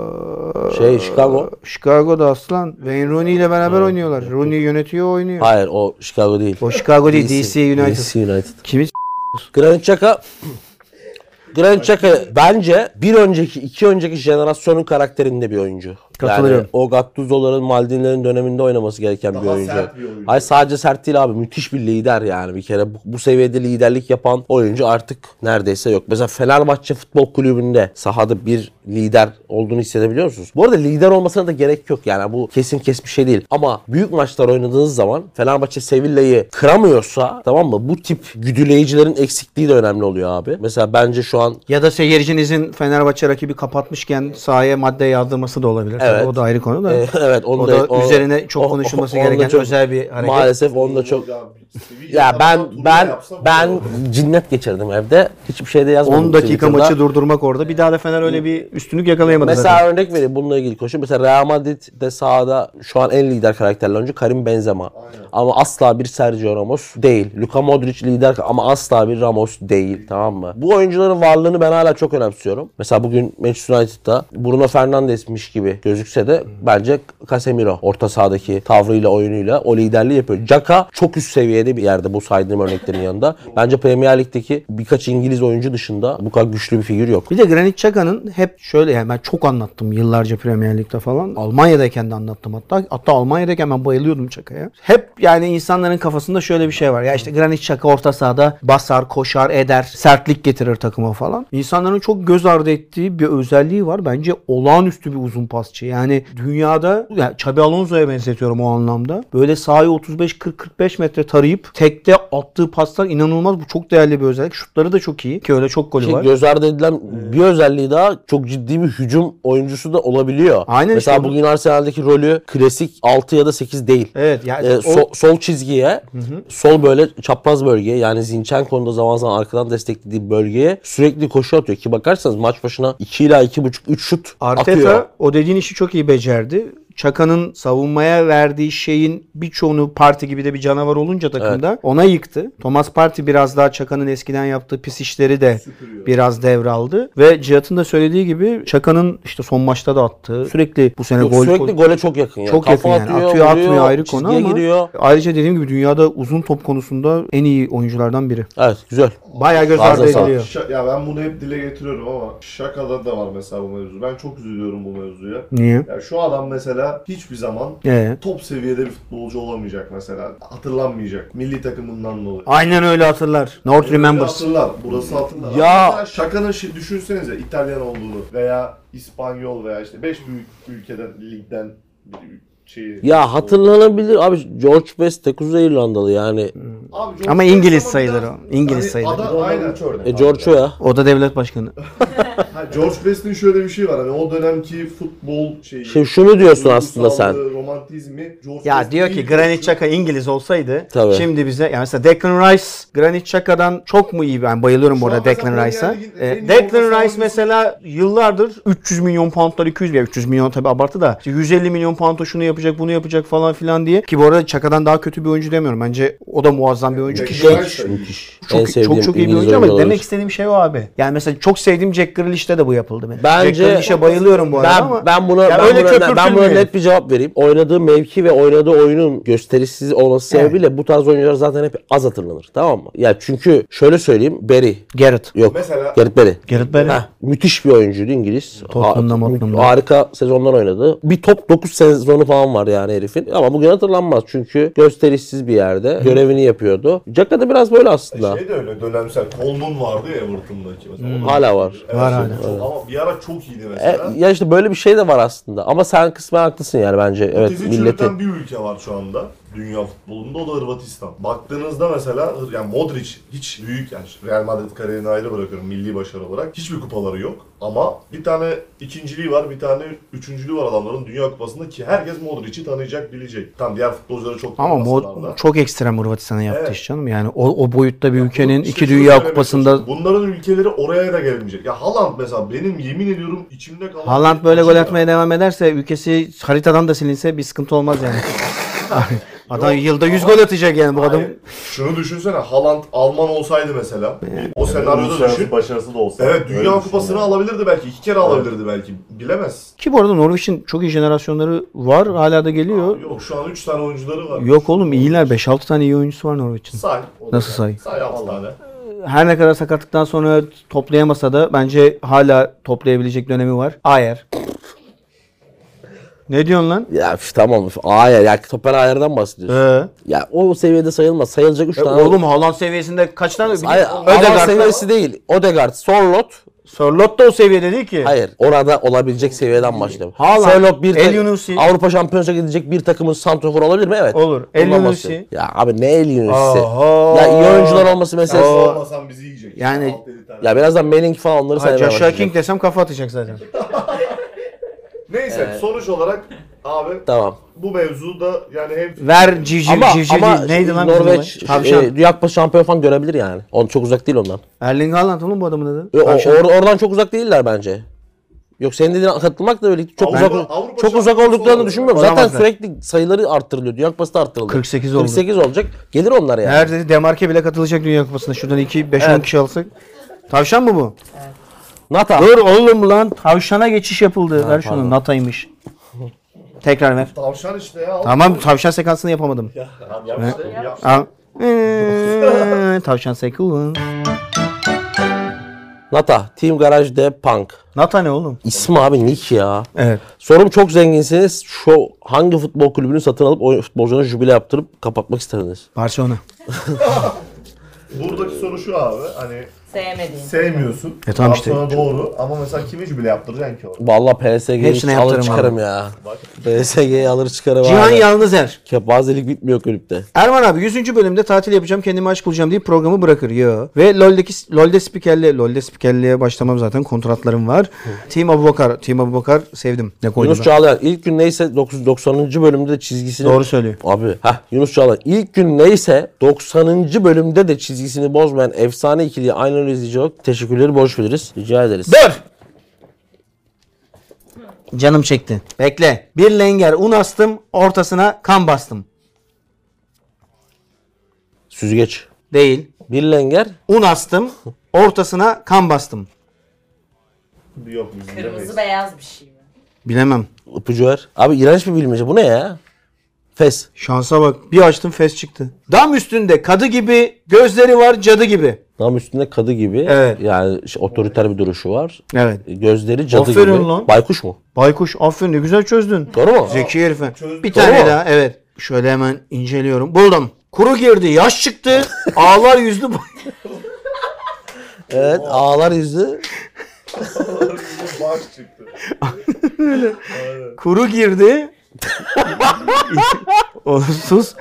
[SPEAKER 2] Şey, Chicago.
[SPEAKER 3] Chicago'da aslan. Wayne Rooney ile beraber oynuyorlar. Rooney yönetiyor oynuyor.
[SPEAKER 2] Hayır o Chicago değil.
[SPEAKER 3] O Chicago değil DC United.
[SPEAKER 2] DC United.
[SPEAKER 3] Kimi
[SPEAKER 2] Granit Xhaka Granit Xhaka bence bir önceki, iki önceki jenerasyonun karakterinde bir oyuncu.
[SPEAKER 3] Katılıyorum.
[SPEAKER 2] Yani o Gattuso'ların, Maldini'lerin döneminde oynaması gereken bir
[SPEAKER 4] Daha
[SPEAKER 2] oyuncu.
[SPEAKER 4] sert bir oyuncu.
[SPEAKER 2] Hayır sadece sert değil abi. Müthiş bir lider yani bir kere. Bu, bu seviyede liderlik yapan oyuncu artık neredeyse yok. Mesela Fenerbahçe Futbol Kulübü'nde sahada bir lider olduğunu hissedebiliyor musunuz? Bu arada lider olmasına da gerek yok yani. Bu kesin kes bir şey değil. Ama büyük maçlar oynadığınız zaman Fenerbahçe Sevilla'yı kıramıyorsa tamam mı? Bu tip güdüleyicilerin eksikliği de önemli oluyor abi. Mesela bence şu an
[SPEAKER 3] Ya da seyircinizin Fenerbahçe rakibi kapatmışken sahaya madde yağdırması da olabilir. Tabii
[SPEAKER 2] Evet.
[SPEAKER 3] o da ayrı konu da.
[SPEAKER 2] e, evet onu
[SPEAKER 3] o da üzerine çok konuşulması
[SPEAKER 2] onu da
[SPEAKER 3] gereken
[SPEAKER 2] çok-
[SPEAKER 3] özel bir hareket.
[SPEAKER 2] Maalesef onu da çok
[SPEAKER 4] Ya, Sevilla
[SPEAKER 2] Ya ben
[SPEAKER 4] turnuva
[SPEAKER 2] ben
[SPEAKER 4] yapsa-
[SPEAKER 2] ben cinnet geçirdim evde. Hiçbir şey de yazmadım.
[SPEAKER 3] 10 dakika
[SPEAKER 2] Twitter'da.
[SPEAKER 3] maçı durdurmak orada. Bir daha da Fener öyle bir üstünlük yakalayamadı
[SPEAKER 2] Mesela
[SPEAKER 3] zaten.
[SPEAKER 2] örnek vereyim bununla ilgili koşu. Mesela Real Madrid'de sahada şu an en lider karakterli oyuncu Karim Benzema. Ama asla bir Sergio Ramos değil. Luka Modric lider ama asla bir Ramos değil. Tamam mı? Bu oyuncuların varlığını ben hala çok önemsiyorum. Mesela bugün Manchester United'da Bruno Fernandes'miş gibi gözükse de bence Casemiro orta sahadaki tavrıyla oyunuyla o liderliği yapıyor. Caka çok üst seviyede bir yerde bu saydığım örneklerin yanında. Bence Premier Lig'deki birkaç İngiliz oyuncu dışında bu kadar güçlü bir figür yok.
[SPEAKER 3] Bir de Granit Xhaka'nın hep şöyle yani ben çok anlattım yıllarca Premier Lig'de falan. Almanya'dayken de anlattım hatta. Hatta Almanya'dayken ben bayılıyordum Xhaka'ya. Hep yani insanların kafasında şöyle bir şey var. Ya işte Granit Xhaka orta sahada basar, koşar, eder, sertlik getirir takıma falan. İnsanların çok göz ardı ettiği bir özelliği var. Bence olağanüstü bir uzun pasçı. Yani dünyada yani Xabi Alonso'ya benzetiyorum o anlamda. Böyle sahayı 35-40-45 metre tarayıp tekte attığı paslar inanılmaz. Bu çok değerli bir özellik. Şutları da çok iyi. Ki öyle çok golü
[SPEAKER 2] Ki
[SPEAKER 3] var. Ee,
[SPEAKER 2] göz ardı edilen bir özelliği daha çok ciddi bir hücum oyuncusu da olabiliyor.
[SPEAKER 3] Aynen
[SPEAKER 2] Mesela
[SPEAKER 3] işte onu-
[SPEAKER 2] bugün Arsenal'deki rolü klasik 6 ya da 8 değil.
[SPEAKER 3] Evet yani
[SPEAKER 2] Ee,
[SPEAKER 3] o-
[SPEAKER 2] so- sol çizgiye, sol böyle çapraz bölgeye yani Zinchenko'nun da zaman zaman arkadan desteklediği bölgeye sürekli koşu atıyor. Ki bakarsanız maç başına 2 ila 2,5 3 şut
[SPEAKER 3] Arteta
[SPEAKER 2] atıyor.
[SPEAKER 3] o dediğin işi çok iyi becerdi. Çaka'nın savunmaya verdiği şeyin birçoğunu Parti gibi de bir canavar olunca takımda ona yıktı. Thomas Parti biraz daha Çaka'nın eskiden yaptığı pis işleri de biraz devraldı. Ve Cihat'ın da söylediği gibi Çaka'nın işte son maçta da attığı sürekli bu sene
[SPEAKER 2] Yok,
[SPEAKER 3] gol
[SPEAKER 2] sürekli gole çok yakın. Yani.
[SPEAKER 3] çok yakın
[SPEAKER 2] Kafa
[SPEAKER 3] yani. Atıyor,
[SPEAKER 2] vuruyor,
[SPEAKER 3] atmıyor ayrı konu
[SPEAKER 2] çizgiye
[SPEAKER 3] ama
[SPEAKER 2] giriyor.
[SPEAKER 3] ayrıca dediğim gibi dünyada uzun top konusunda en iyi oyunculardan biri.
[SPEAKER 2] Evet güzel.
[SPEAKER 3] Bayağı göz
[SPEAKER 2] Ağzına
[SPEAKER 3] ardı
[SPEAKER 2] sağlık.
[SPEAKER 3] ediliyor.
[SPEAKER 4] Şa- ya ben bunu hep dile getiriyorum ama şakada da var mesela bu mevzu. Ben çok üzülüyorum bu mevzuya.
[SPEAKER 3] Niye?
[SPEAKER 4] Ya şu adam mesela mesela hiçbir zaman
[SPEAKER 3] Ee?
[SPEAKER 4] top seviyede bir futbolcu olamayacak mesela. Hatırlanmayacak. Milli takımından dolayı.
[SPEAKER 3] Aynen öyle hatırlar. North remembers.
[SPEAKER 4] Hatırlar. Burası hatırlar.
[SPEAKER 2] Ya-
[SPEAKER 4] Ama mesela şakanın şi- düşünsenize İtalyan olduğunu veya İspanyol veya işte 5 büyük ülkeden ligden bir şeyi.
[SPEAKER 2] Ya hatırlanabilir abi George Best tek uzun İrlandalı yani.
[SPEAKER 3] Hmm.
[SPEAKER 4] Abi George
[SPEAKER 3] Ama
[SPEAKER 4] Best
[SPEAKER 3] İngiliz
[SPEAKER 4] biraz-
[SPEAKER 3] sayılır o. İngiliz sayılır.
[SPEAKER 4] Ada, hani aynen.
[SPEAKER 2] E, George o ya.
[SPEAKER 3] O da devlet başkanı.
[SPEAKER 4] Ha, George Best'in şöyle bir şey var. Hani o dönemki futbol
[SPEAKER 3] Şey,
[SPEAKER 4] şeyi.
[SPEAKER 2] Şimdi şunu diyorsun aslında sen.
[SPEAKER 4] duygusallığı, Romantizmi. George
[SPEAKER 3] Ya
[SPEAKER 4] Best
[SPEAKER 3] diyor
[SPEAKER 4] ilk
[SPEAKER 3] ki Granit
[SPEAKER 4] koşu-
[SPEAKER 3] Xhaka İngiliz olsaydı
[SPEAKER 2] Tabii.
[SPEAKER 3] şimdi bize yani mesela Declan Rice Granit Xhaka'dan çok mu iyi ben bayılıyorum bu
[SPEAKER 4] Şu
[SPEAKER 3] arada
[SPEAKER 4] an mesela
[SPEAKER 3] Declan Rice'a.
[SPEAKER 4] Premier Lig'in
[SPEAKER 3] Ee,
[SPEAKER 4] en iyi orta
[SPEAKER 3] Declan Rice
[SPEAKER 4] sahancısı.
[SPEAKER 3] mesela yıllardır 300 milyon poundlar 200 ya 300 milyon tabi abartı da işte 150 milyon pound'a şunu yapacak bunu yapacak falan filan diye ki bu arada Xhaka'dan daha kötü bir oyuncu demiyorum bence o da muazzam bir oyuncu ki şey
[SPEAKER 4] Declan Rice de iyi.
[SPEAKER 2] En
[SPEAKER 3] çok
[SPEAKER 2] sevdiğim
[SPEAKER 3] çok çok iyi bir
[SPEAKER 2] İngiliz
[SPEAKER 3] oyuncu ama
[SPEAKER 2] oyuncular
[SPEAKER 3] demek istediğim şey o abi. Yani mesela çok sevdiğim Jack Grealish'te de bu yapıldı benim.
[SPEAKER 2] Bence-
[SPEAKER 3] Jack Grealish'e bayılıyorum bu arada
[SPEAKER 2] ben,
[SPEAKER 3] ama
[SPEAKER 2] ben buna,
[SPEAKER 3] Ya
[SPEAKER 2] ben,
[SPEAKER 3] öyle
[SPEAKER 2] buna, ben buna
[SPEAKER 3] köpürtülmeyelim.
[SPEAKER 2] net bir cevap vereyim. Oynadığı mevki ve oynadığı oyunun gösterişsiz olması
[SPEAKER 3] Evet.
[SPEAKER 2] sebebiyle bu tarz oyuncular zaten hep az hatırlanır. Tamam mı? Ya çünkü şöyle söyleyeyim. Barry.
[SPEAKER 3] Garrett.
[SPEAKER 2] Yok.
[SPEAKER 4] Mesela-
[SPEAKER 2] Gareth Barry.
[SPEAKER 3] Gareth Bale.
[SPEAKER 2] Heh, müthiş bir oyuncuydu İngiliz.
[SPEAKER 3] Tottenham'da,
[SPEAKER 2] Ha-
[SPEAKER 3] Mottenham'da.
[SPEAKER 2] Harika sezonlar oynadı. Bir top 9 sezonu falan var yani herifin. Ama bugün hatırlanmaz çünkü gösterişsiz bir yerde görevini yapıyordu. Jaka da biraz böyle aslında.
[SPEAKER 4] Şey de öyle dönemsel. Coleman vardı ya Everton'daki mesela. O da-
[SPEAKER 2] Hala Hmm. var.
[SPEAKER 4] Evet,
[SPEAKER 3] Var
[SPEAKER 4] çok-
[SPEAKER 3] hala.
[SPEAKER 4] çok- Ama bir ara çok iyiydi
[SPEAKER 2] E,
[SPEAKER 4] mesela.
[SPEAKER 2] ya işte böyle bir şey de var aslında. Ama sen kısmen haklısın yani bence. Evet
[SPEAKER 4] Bizi
[SPEAKER 2] milleti.
[SPEAKER 4] çürüten bir ülke var şu anda dünya futbolunda o da Hırvatistan. Baktığınızda mesela yani Modric hiç büyük yani Real Madrid kariyerini ayrı bırakıyorum milli başarı olarak. Hiçbir kupaları yok ama bir tane ikinciliği var bir tane üçüncülüğü var adamların Dünya Kupası'nda ki herkes Modric'i tanıyacak bilecek. Tam diğer futbolcuları çok
[SPEAKER 3] Ama
[SPEAKER 4] tanımasalar da.
[SPEAKER 3] Mod çok ekstrem Hırvatistan'ın yaptığı
[SPEAKER 4] Evet.
[SPEAKER 3] iş canım. Yani o, o boyutta bir ülkenin
[SPEAKER 4] İşte
[SPEAKER 3] iki
[SPEAKER 4] şunu
[SPEAKER 3] dünya
[SPEAKER 4] söylemeye
[SPEAKER 3] kupasında
[SPEAKER 4] çalışıyorum. Bunların ülkeleri oraya da gelmeyecek. Ya Haaland mesela benim yemin ediyorum içimde kalan...
[SPEAKER 3] Haaland böyle gol
[SPEAKER 4] Ya.
[SPEAKER 3] atmaya devam ederse ülkesi haritadan da silinse bir sıkıntı olmaz yani. adam yılda 100 gol atacak yani bu adam.
[SPEAKER 4] Hayır. Şunu düşünsene Haaland Alman olsaydı mesela. O senaryoda
[SPEAKER 1] Uluslararası
[SPEAKER 4] düşün.
[SPEAKER 1] başarısı da olsa.
[SPEAKER 4] Evet
[SPEAKER 1] Öyle
[SPEAKER 4] Dünya
[SPEAKER 1] düşün
[SPEAKER 4] Kupası'nı
[SPEAKER 1] yani.
[SPEAKER 4] alabilirdi belki. iki kere alabilirdi belki. Bilemez.
[SPEAKER 3] Ki bu arada Norveç'in çok iyi jenerasyonları var. Hala da geliyor.
[SPEAKER 4] Yok şu an 3 tane oyuncuları var.
[SPEAKER 3] Yok oğlum iyiler. 5-6 tane iyi oyuncusu var Norveç'in.
[SPEAKER 4] Say.
[SPEAKER 3] Nasıl say?
[SPEAKER 4] Say 6 tane.
[SPEAKER 3] Her ne kadar sakatlıktan sonra toplayamasa da bence hala toplayabilecek dönemi var. Ayer. ne diyorsun lan?
[SPEAKER 2] Ya üf, tamam. üf, Ayer. Ya Topper Ayer'den bahsediyorsun.
[SPEAKER 3] Ee?
[SPEAKER 2] Ya o seviyede sayılmaz. Sayılacak 3
[SPEAKER 3] E,
[SPEAKER 2] tane.
[SPEAKER 3] oğlum Haaland seviyesinde kaç tane?
[SPEAKER 2] Hayır, Alan
[SPEAKER 3] Ödegaard.
[SPEAKER 2] seviyesi değil. Odegaard, Sorlot.
[SPEAKER 3] Sörlot da o seviyede değil ki.
[SPEAKER 2] Hayır. Orada olabilecek seviyeden başlayalım.
[SPEAKER 3] Haaland,
[SPEAKER 2] Sorlot bir
[SPEAKER 3] El
[SPEAKER 2] ta-
[SPEAKER 3] Yunusi.
[SPEAKER 2] Avrupa Şampiyonası'na gidecek bir takımın santroforu olabilir mi? Evet.
[SPEAKER 3] Olur. El
[SPEAKER 2] Bundan
[SPEAKER 3] Yunusi.
[SPEAKER 2] bahsediyorum. Ya abi ne El Yunusi?
[SPEAKER 3] Oho.
[SPEAKER 2] Ya iyi oyuncular olması meselesi.
[SPEAKER 4] Olmasan bizi yiyecek.
[SPEAKER 3] Yani-
[SPEAKER 4] Altı, yedi tane.
[SPEAKER 2] Ya birazdan Melling falan onları
[SPEAKER 3] Hayır,
[SPEAKER 2] saymaya
[SPEAKER 3] Joshua
[SPEAKER 2] başlayacak.
[SPEAKER 3] King desem kafa atacak zaten. Ee,
[SPEAKER 4] Neyse sonuç olarak abi
[SPEAKER 2] Tamam.
[SPEAKER 4] bu mevzuda yani hem
[SPEAKER 3] Ver civciv
[SPEAKER 2] Ama,
[SPEAKER 3] civciv
[SPEAKER 2] ama
[SPEAKER 3] değil. Neydi lan bizim
[SPEAKER 2] Norveç
[SPEAKER 3] olay? Tavşan.
[SPEAKER 2] e, Dünya Kupası şampiyon falan görebilir yani. On çok uzak değil ondan.
[SPEAKER 3] Erling Haaland oğlum bu adamın adı.
[SPEAKER 2] E, o-
[SPEAKER 3] Tavşan.
[SPEAKER 2] or- oradan çok uzak değiller bence. Yok senin dediğin katılmakla birlikte çok
[SPEAKER 4] Avrupa-
[SPEAKER 2] uzak
[SPEAKER 4] Avrupa
[SPEAKER 2] çok uzak
[SPEAKER 4] şampiyonası
[SPEAKER 2] olduklarını
[SPEAKER 4] olur.
[SPEAKER 2] düşünmüyorum.
[SPEAKER 3] Olamazlar.
[SPEAKER 2] Zaten sürekli sayıları arttırılıyor. Dünya Kupası da arttırıldı.
[SPEAKER 3] 48 oldu.
[SPEAKER 2] 48 olacak. Gelir onlar yani.
[SPEAKER 3] Nerede? Demarke bile katılacak Dünya Kupası'na. Şuradan 2 5 10 kişi alsak. Tavşan mı bu?
[SPEAKER 2] Nata.
[SPEAKER 3] Dur oğlum lan tavşana geçiş yapıldı. Ver şunu.
[SPEAKER 2] pardon.
[SPEAKER 3] Nata'ymış. Tekrar ver.
[SPEAKER 4] tavşan işte ya.
[SPEAKER 3] Tamam tavşan sekansını yapamadım.
[SPEAKER 4] Tamam, yap işte, yap.
[SPEAKER 3] Al. Eee, tavşan sekansı.
[SPEAKER 2] Nata. Team Garage de Punk.
[SPEAKER 3] Nata ne oğlum?
[SPEAKER 2] İsmi abi Nick ya.
[SPEAKER 3] Evet.
[SPEAKER 2] Sorum çok zenginsiniz. Şu hangi futbol kulübünü satın alıp oyun- futbolcuna jübile yaptırıp kapatmak isterdiniz?
[SPEAKER 3] Barcelona.
[SPEAKER 4] Buradaki soru şu abi. Hani
[SPEAKER 5] Sevmediğin.
[SPEAKER 4] sevmiyorsun.
[SPEAKER 3] E tamam işte.
[SPEAKER 4] Barcelona doğru ama mesela kimi bile yaptıracaksın ki orada?
[SPEAKER 2] Vallahi PSG'yi
[SPEAKER 3] Hepsine
[SPEAKER 2] alır
[SPEAKER 3] yaptırırım
[SPEAKER 2] çıkarım ya. PSG'yi alır çıkarım
[SPEAKER 3] Cihan
[SPEAKER 2] abi.
[SPEAKER 3] Yalnızer.
[SPEAKER 2] Kepazelik bitmiyor kulüpte.
[SPEAKER 3] Erman abi 100. bölümde tatil yapacağım kendime aşk bulacağım diye programı bırakır. Yo. Ve LoL'deki LoL'de spikerle LoL'de spikerliğe başlamam zaten kontratlarım var. Team Abubakar, Team Abubakar sevdim. Ne koydu
[SPEAKER 2] Yunus
[SPEAKER 3] lan?
[SPEAKER 2] Çağlayan ilk gün neyse 90. bölümde de çizgisini...
[SPEAKER 3] Doğru söylüyor.
[SPEAKER 2] Abi heh, Yunus Çağlayan ilk gün neyse 90. bölümde de çizgisini bozmayan efsane ikiliye aynı öyle izleyici olarak teşekkürleri borç biliriz. Rica ederiz.
[SPEAKER 3] Dur. Canım çekti. Bekle. Bir lenger un astım, ortasına kan bastım.
[SPEAKER 2] Süzgeç.
[SPEAKER 3] Değil.
[SPEAKER 2] Bir lenger.
[SPEAKER 3] Un astım, ortasına kan bastım.
[SPEAKER 4] Yok biz bilemeyiz.
[SPEAKER 5] Kırmızı beyaz bir şey mi?
[SPEAKER 3] Bilemem.
[SPEAKER 2] ipucu ver. Abi iğrenç bir bilmece. Bu ne ya? Fes.
[SPEAKER 3] Şansa bak. Bir açtım fes çıktı. Dam üstünde kadı gibi, gözleri var cadı gibi.
[SPEAKER 2] Tam üstünde kadı gibi.
[SPEAKER 3] Evet.
[SPEAKER 2] Yani işte otoriter bir duruşu var.
[SPEAKER 3] Evet.
[SPEAKER 2] Gözleri cadı
[SPEAKER 3] Aferin
[SPEAKER 2] gibi.
[SPEAKER 3] lan.
[SPEAKER 2] Baykuş mu?
[SPEAKER 3] Baykuş aferin ne güzel çözdün.
[SPEAKER 2] Doğru mu?
[SPEAKER 3] Zeki herifim.
[SPEAKER 4] çözdüm.
[SPEAKER 3] Bir
[SPEAKER 2] Doğru
[SPEAKER 3] tane
[SPEAKER 2] mu?
[SPEAKER 3] daha evet. Şöyle hemen inceliyorum. Buldum. Kuru girdi, yaş çıktı, ağlar yüzlü boy.
[SPEAKER 2] Evet. Ağlar yüzü.
[SPEAKER 4] Baş çıktı.
[SPEAKER 3] Kuru girdi. Olumsuz.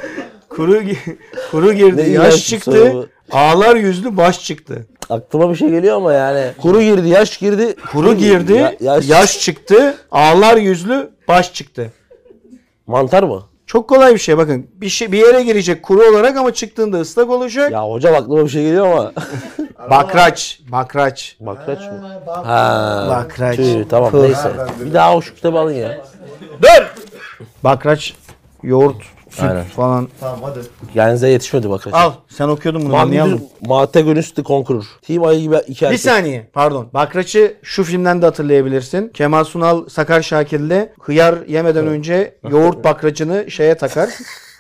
[SPEAKER 3] Kuru gi- kuru girdi,
[SPEAKER 2] Ne
[SPEAKER 3] yaş
[SPEAKER 2] iğrenç bir soru
[SPEAKER 3] çıktı.
[SPEAKER 2] bu.
[SPEAKER 3] Ağlar yüzlü baş çıktı.
[SPEAKER 2] Aklıma bir şey geliyor ama yani. Kuru girdi, yaş girdi.
[SPEAKER 3] Kuru girdi,
[SPEAKER 2] Ya-
[SPEAKER 3] yaş... çıktı, ağlar yüzlü baş çıktı.
[SPEAKER 2] Mantar mı?
[SPEAKER 3] Çok kolay bir şey bakın. Bir şey bir yere girecek kuru olarak ama çıktığında ıslak olacak.
[SPEAKER 2] Ya hocam aklıma bir şey geliyor ama.
[SPEAKER 3] Bakraç, bakraç.
[SPEAKER 2] Bakraç mı? Ha.
[SPEAKER 3] Bakraç.
[SPEAKER 2] Tüh, tamam
[SPEAKER 3] Kıl.
[SPEAKER 2] neyse. Bir daha o şu kitabı alın ya.
[SPEAKER 3] Bakraç yoğurt, süt
[SPEAKER 2] Aynen.
[SPEAKER 3] falan.
[SPEAKER 4] Tamam hadi.
[SPEAKER 2] Genze yetişmedi bakraç.
[SPEAKER 3] Al. Sen okuyordun bunu
[SPEAKER 2] Mandur,
[SPEAKER 3] anlayalım.
[SPEAKER 2] Mategonisti Conqueror. Team Ayı gibi iki
[SPEAKER 3] Bir
[SPEAKER 2] erkek.
[SPEAKER 3] saniye. Pardon. Bakraç'ı şu filmden de hatırlayabilirsin. Kemal Sunal Sakar Şakir'le hıyar yemeden önce yoğurt bakraçını şeye takar.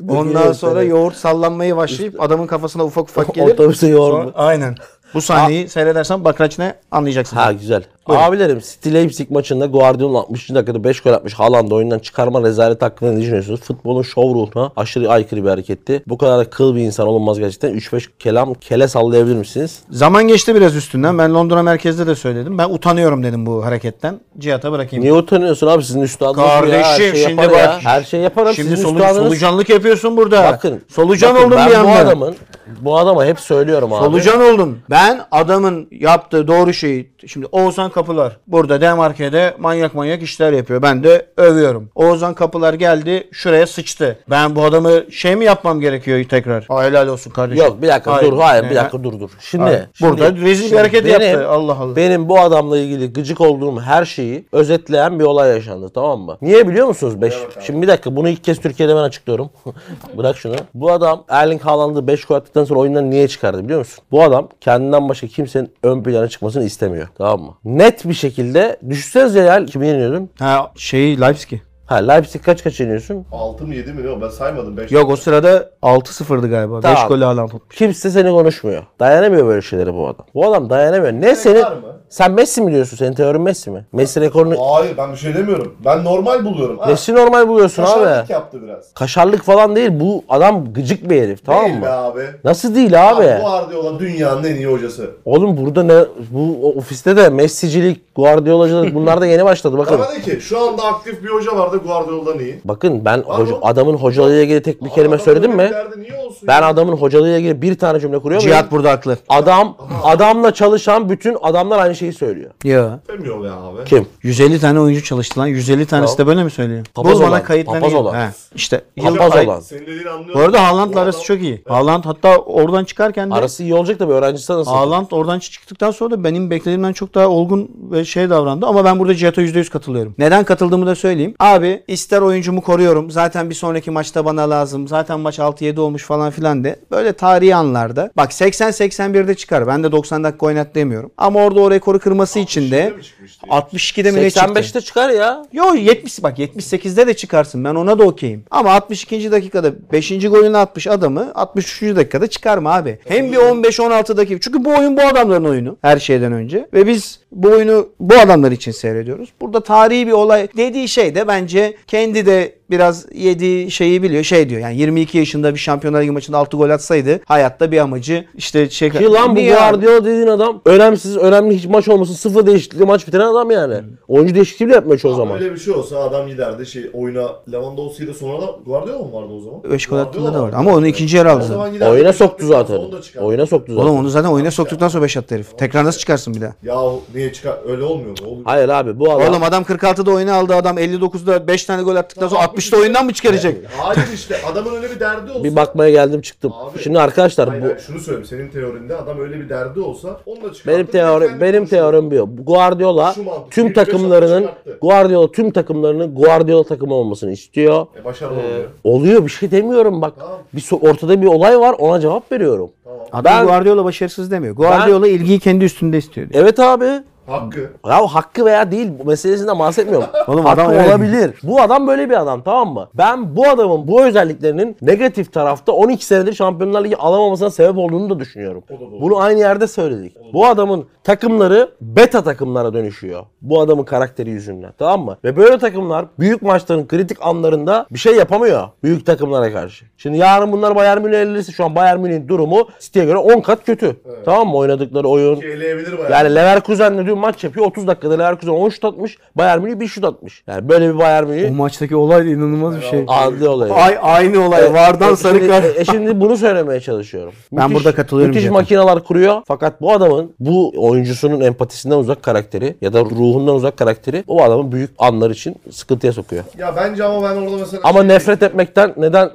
[SPEAKER 3] Ondan
[SPEAKER 2] Döküyor
[SPEAKER 3] sonra
[SPEAKER 2] üstüne.
[SPEAKER 3] yoğurt sallanmaya başlayıp adamın kafasına ufak ufak gelip
[SPEAKER 2] Otobüse yoğurdu.
[SPEAKER 3] sonra- aynen. Bu sahneyi seyredersen bakraç ne anlayacaksın.
[SPEAKER 2] Ha güzel. Abilerim City Leipzig maçında Guardiola 60. dakikada 5 gol atmış. Haaland'ı oyundan çıkarma rezalet hakkında ne düşünüyorsunuz? Futbolun şov ruhuna aşırı aykırı bir hareketti. Bu kadar da kıl bir insan olunmaz gerçekten. 3-5 kelam kele sallayabilir misiniz?
[SPEAKER 3] Zaman geçti biraz üstünden. Ben Londra merkezde de söyledim. Ben utanıyorum dedim bu hareketten. Cihat'a bırakayım.
[SPEAKER 2] Niye utanıyorsun abi sizin üstadınız bu ya. Her
[SPEAKER 3] Kardeşim
[SPEAKER 2] şey
[SPEAKER 3] şimdi
[SPEAKER 2] yapar ya.
[SPEAKER 3] bak.
[SPEAKER 2] Her şey yaparım
[SPEAKER 3] Şimdi
[SPEAKER 2] sizin
[SPEAKER 3] solu-
[SPEAKER 2] üstadınız.
[SPEAKER 3] solucanlık yapıyorsun burada.
[SPEAKER 2] Bakın.
[SPEAKER 3] Solucan
[SPEAKER 2] bakın,
[SPEAKER 3] oldum
[SPEAKER 2] ben
[SPEAKER 3] bir
[SPEAKER 2] bu
[SPEAKER 3] anda.
[SPEAKER 2] adamın bu adama hep söylüyorum abi.
[SPEAKER 3] Solucan oldum. Ben adamın yaptığı doğru şeyi şimdi Oğuzhan Kapılar burada Demarke'de manyak manyak işler yapıyor. Ben de övüyorum. Oğuzhan Kapılar geldi şuraya sıçtı. Ben bu adamı şey mi yapmam gerekiyor tekrar? Aa, helal olsun kardeşim.
[SPEAKER 2] Yok bir dakika dur hayır bir dakika dur dur. Şimdi,
[SPEAKER 3] Hayır.
[SPEAKER 2] şimdi-
[SPEAKER 3] Burada rezil bir
[SPEAKER 2] şimdi
[SPEAKER 3] hareket yaptı. Allah Allah.
[SPEAKER 2] Benim bu adamla ilgili gıcık olduğum her şeyi özetleyen bir olay yaşandı tamam mı? Niye biliyor musunuz? Beş, şimdi bir dakika bunu ilk kez Türkiye'de ben açıklıyorum. Bırak şunu. Bu adam Erling Haaland'ı 5 gol attıktan sonra oyundan niye çıkardı biliyor musun? Bu adam kendinden başka kimsenin ön plana çıkmasını istemiyor tamam mı? Net bir şekilde düşünsenize ya kimi yeniyordun?
[SPEAKER 3] Ha şey, şeyi Leipzig'i.
[SPEAKER 2] Ha Leipzig kaç kaç yeniyorsun?
[SPEAKER 4] 6 mı 7 mi ne o ben saymadım 5.
[SPEAKER 3] Yok o sırada 6-0'dı galiba. 5
[SPEAKER 2] Tamam.
[SPEAKER 3] golü alan tutmuş.
[SPEAKER 2] Kimse seni konuşmuyor. Dayanamıyor böyle şeylere bu adam. Bu adam dayanamıyor. Ne senin?
[SPEAKER 4] var mı?
[SPEAKER 2] Sen Messi mi diyorsun? Senin teorin Messi mi? Messi rekorunu...
[SPEAKER 4] Hayır ben bir şey demiyorum. Ben normal buluyorum. Ha,
[SPEAKER 2] Messi normal buluyorsun
[SPEAKER 4] kaşarlık
[SPEAKER 2] abi.
[SPEAKER 4] yaptı biraz.
[SPEAKER 2] Kaşarlık falan değil. Bu adam gıcık bir herif tamam
[SPEAKER 4] Değil
[SPEAKER 2] mı?
[SPEAKER 4] be abi.
[SPEAKER 2] Nasıl değil abi?
[SPEAKER 4] Bu Guardiola dünyanın en iyi hocası.
[SPEAKER 2] Oğlum burada ne bu o- ofiste de Messi'cilik, Guardiola'cılık bunlar da yeni başladı bakın.
[SPEAKER 4] Bana de ki şu anda aktif bir hoca vardı Guardiola'dan iyi.
[SPEAKER 2] Bakın ben
[SPEAKER 4] Var
[SPEAKER 2] hoca-
[SPEAKER 4] mı?
[SPEAKER 2] adamın hocalığıyla ilgili tek bir kelime
[SPEAKER 4] Adamın
[SPEAKER 2] söyledim
[SPEAKER 4] öyle
[SPEAKER 2] mi?
[SPEAKER 4] bir derdi niye olsun
[SPEAKER 2] Ben
[SPEAKER 4] ya?
[SPEAKER 2] adamın hocalığıyla ilgili bir tane cümle kuruyor muyum?
[SPEAKER 3] Cihat burada haklı.
[SPEAKER 2] Adam adamla çalışan bütün adamlar aynı şeyi söylüyor.
[SPEAKER 3] Ya.
[SPEAKER 4] Demiyor be abi.
[SPEAKER 2] Kim?
[SPEAKER 3] 150 tane oyuncu çalıştı lan. 150 tanesi de böyle mi söylüyor?
[SPEAKER 2] Papaz
[SPEAKER 3] Bu bana
[SPEAKER 2] olan,
[SPEAKER 3] kayıtlanıyor.
[SPEAKER 2] papaz olan.
[SPEAKER 3] He. İşte
[SPEAKER 2] Papaz
[SPEAKER 3] yıl- ay-
[SPEAKER 2] olan.
[SPEAKER 4] Senin dediğini anlıyorum.
[SPEAKER 3] Bu arada Haaland'la
[SPEAKER 4] Bu adam-
[SPEAKER 3] arası çok iyi. Haaland hatta oradan çıkarken de
[SPEAKER 2] Arası iyi olacak da bir öğrencisi de nasıl?
[SPEAKER 3] Haaland oradan çıktıktan sonra da benim beklediğimden çok daha olgun ve şey davrandı. Ama ben burada Cihat'a %100 katılıyorum. Neden katıldığımı da söyleyeyim. Abi ister oyuncumu koruyorum. Zaten bir sonraki maçta bana lazım. Zaten maç 6-7 olmuş falan filan de. Böyle tarihi anlarda. Bak 80-81'de çıkar. Ben de 90 dakika oynat demiyorum. Ama orada o rekoru kırması için de
[SPEAKER 4] 62'de mi çıkmıştı?
[SPEAKER 3] 62'de mi ne çıktı?
[SPEAKER 2] 85'te çıkar ya.
[SPEAKER 3] Yo 70 bak 78'de de çıkarsın ben ona da okeyim. Ama 62. dakikada 5. golünü atmış adamı 63. dakikada çıkarma abi. Hem bir 15-16 dakika çünkü bu oyun bu adamların oyunu her şeyden önce. Ve biz bu oyunu bu adamlar için seyrediyoruz. Burada tarihi bir olay dediği şey de bence kendi de biraz yediği şeyi biliyor. Şey diyor yani 22 yaşında bir Şampiyonlar Ligi maçında 6 gol atsaydı hayatta bir amacı işte şey...
[SPEAKER 2] Ki lan bu
[SPEAKER 3] Niye abi?
[SPEAKER 2] Guardiola dediğin adam önemsiz, önemli hiç maç olmasın sıfır değişiklikli maç bitiren adam yani.
[SPEAKER 3] Hmm.
[SPEAKER 2] Oyuncu değişikliği bile yapmıyor çoğu zaman.
[SPEAKER 4] Öyle bir şey olsa adam giderdi şey oyuna Lewandowski'yle sonra da Guardiola mı vardı o zaman?
[SPEAKER 3] Beş gol
[SPEAKER 4] Guardiola
[SPEAKER 3] attığında da vardı.
[SPEAKER 4] vardı.
[SPEAKER 3] Ama onu ikinci yarı
[SPEAKER 4] O
[SPEAKER 3] aldı.
[SPEAKER 4] zaman giderdi.
[SPEAKER 2] Oyuna soktu zaten.
[SPEAKER 4] Onu da çıkardı.
[SPEAKER 2] Oyuna soktu zaten.
[SPEAKER 3] Oğlum onu zaten oyuna soktuktan sonra 5 attı herif. Tekrar nasıl çıkarsın bir daha?
[SPEAKER 4] Yahu niye çıkar? Öyle olmuyor mu? Oluyor.
[SPEAKER 2] Hayır abi bu adam.
[SPEAKER 3] Oğlum adam 46'da oyunu aldı adam 59'da 5 tane gol attıktan sonra 60'da oyundan mı çıkaracak?
[SPEAKER 4] Hayır işte adamın öyle bir derdi olsa.
[SPEAKER 2] bir bakmaya geldim çıktım.
[SPEAKER 4] Abi.
[SPEAKER 2] Şimdi arkadaşlar
[SPEAKER 4] Hayır,
[SPEAKER 2] bu
[SPEAKER 4] hayır, şunu söyleyeyim. Senin teorinde adam öyle bir derdi olsa onu da çıkartır.
[SPEAKER 2] benim teorim
[SPEAKER 4] Kendi
[SPEAKER 2] benim
[SPEAKER 4] konuşuyor.
[SPEAKER 2] teorim bu. Guardiola
[SPEAKER 4] Şu mantık,
[SPEAKER 2] tüm
[SPEAKER 4] bir beş
[SPEAKER 2] takımlarının
[SPEAKER 4] adam çıkarttı.
[SPEAKER 2] Guardiola tüm takımlarının Guardiola takımı olmasını istiyor.
[SPEAKER 4] E, başarılı oluyor.
[SPEAKER 2] Oluyor bir şey demiyorum bak.
[SPEAKER 4] Tamam.
[SPEAKER 2] Bir so- ortada bir olay var ona cevap veriyorum.
[SPEAKER 3] Adam
[SPEAKER 2] Ben-
[SPEAKER 3] Guardiola başarısız demiyor. Guardiola ilgiyi kendi üstünde istiyor. diyor.
[SPEAKER 2] Evet abi.
[SPEAKER 4] Hakkı.
[SPEAKER 2] Ya hakkı veya değil bu meselesinden bahsetmiyorum.
[SPEAKER 3] Oğlum
[SPEAKER 2] hakkı
[SPEAKER 3] adam öyle-
[SPEAKER 2] olabilir. Bu adam böyle bir adam tamam mı? Ben bu adamın bu özelliklerinin negatif tarafta 12 senedir Şampiyonlar Ligi alamamasına sebep olduğunu da düşünüyorum.
[SPEAKER 4] da doğru.
[SPEAKER 2] Bunu aynı yerde söyledik. Bu adamın takımları beta takımlara dönüşüyor. Bu adamın karakteri yüzünden. Tamam mı? Ve böyle takımlar büyük maçların kritik anlarında bir şey yapamıyor büyük takımlara karşı. Şimdi yarın bunlar Bayern Münih'e elirse şu an Bayern Münih'in durumu City'ye göre 10 kat kötü. Tamam mı? Oynadıkları oyun.
[SPEAKER 4] Ki Şey eleyebilir bayağı.
[SPEAKER 2] Yani Leverkusen'le dün maç yapıyor. 30 dakikada Leverkusen 10 şut atmış. Bayern Münih 1 şut atmış. Yani böyle bir Bayern
[SPEAKER 3] O
[SPEAKER 2] Münih
[SPEAKER 3] maçtaki olay da inanılmaz bir şey.
[SPEAKER 2] adli olay.
[SPEAKER 3] Ay E- aynı olay. Vardan
[SPEAKER 2] E,
[SPEAKER 3] sarı
[SPEAKER 2] şimdi-
[SPEAKER 3] kart.
[SPEAKER 2] E, şimdi bunu söylemeye çalışıyorum.
[SPEAKER 3] Ben burada katılıyorum
[SPEAKER 2] Müthiş
[SPEAKER 3] Cenk'e.
[SPEAKER 2] makineler kuruyor. Fakat bu adamın bu oyuncusunun empatisinden uzak karakteri ya da ruhundan uzak karakteri o adamın büyük anlar için sıkıntıya sokuyor.
[SPEAKER 4] Ya bence ama ben orada mesela...
[SPEAKER 2] Ama nefret etmekten neden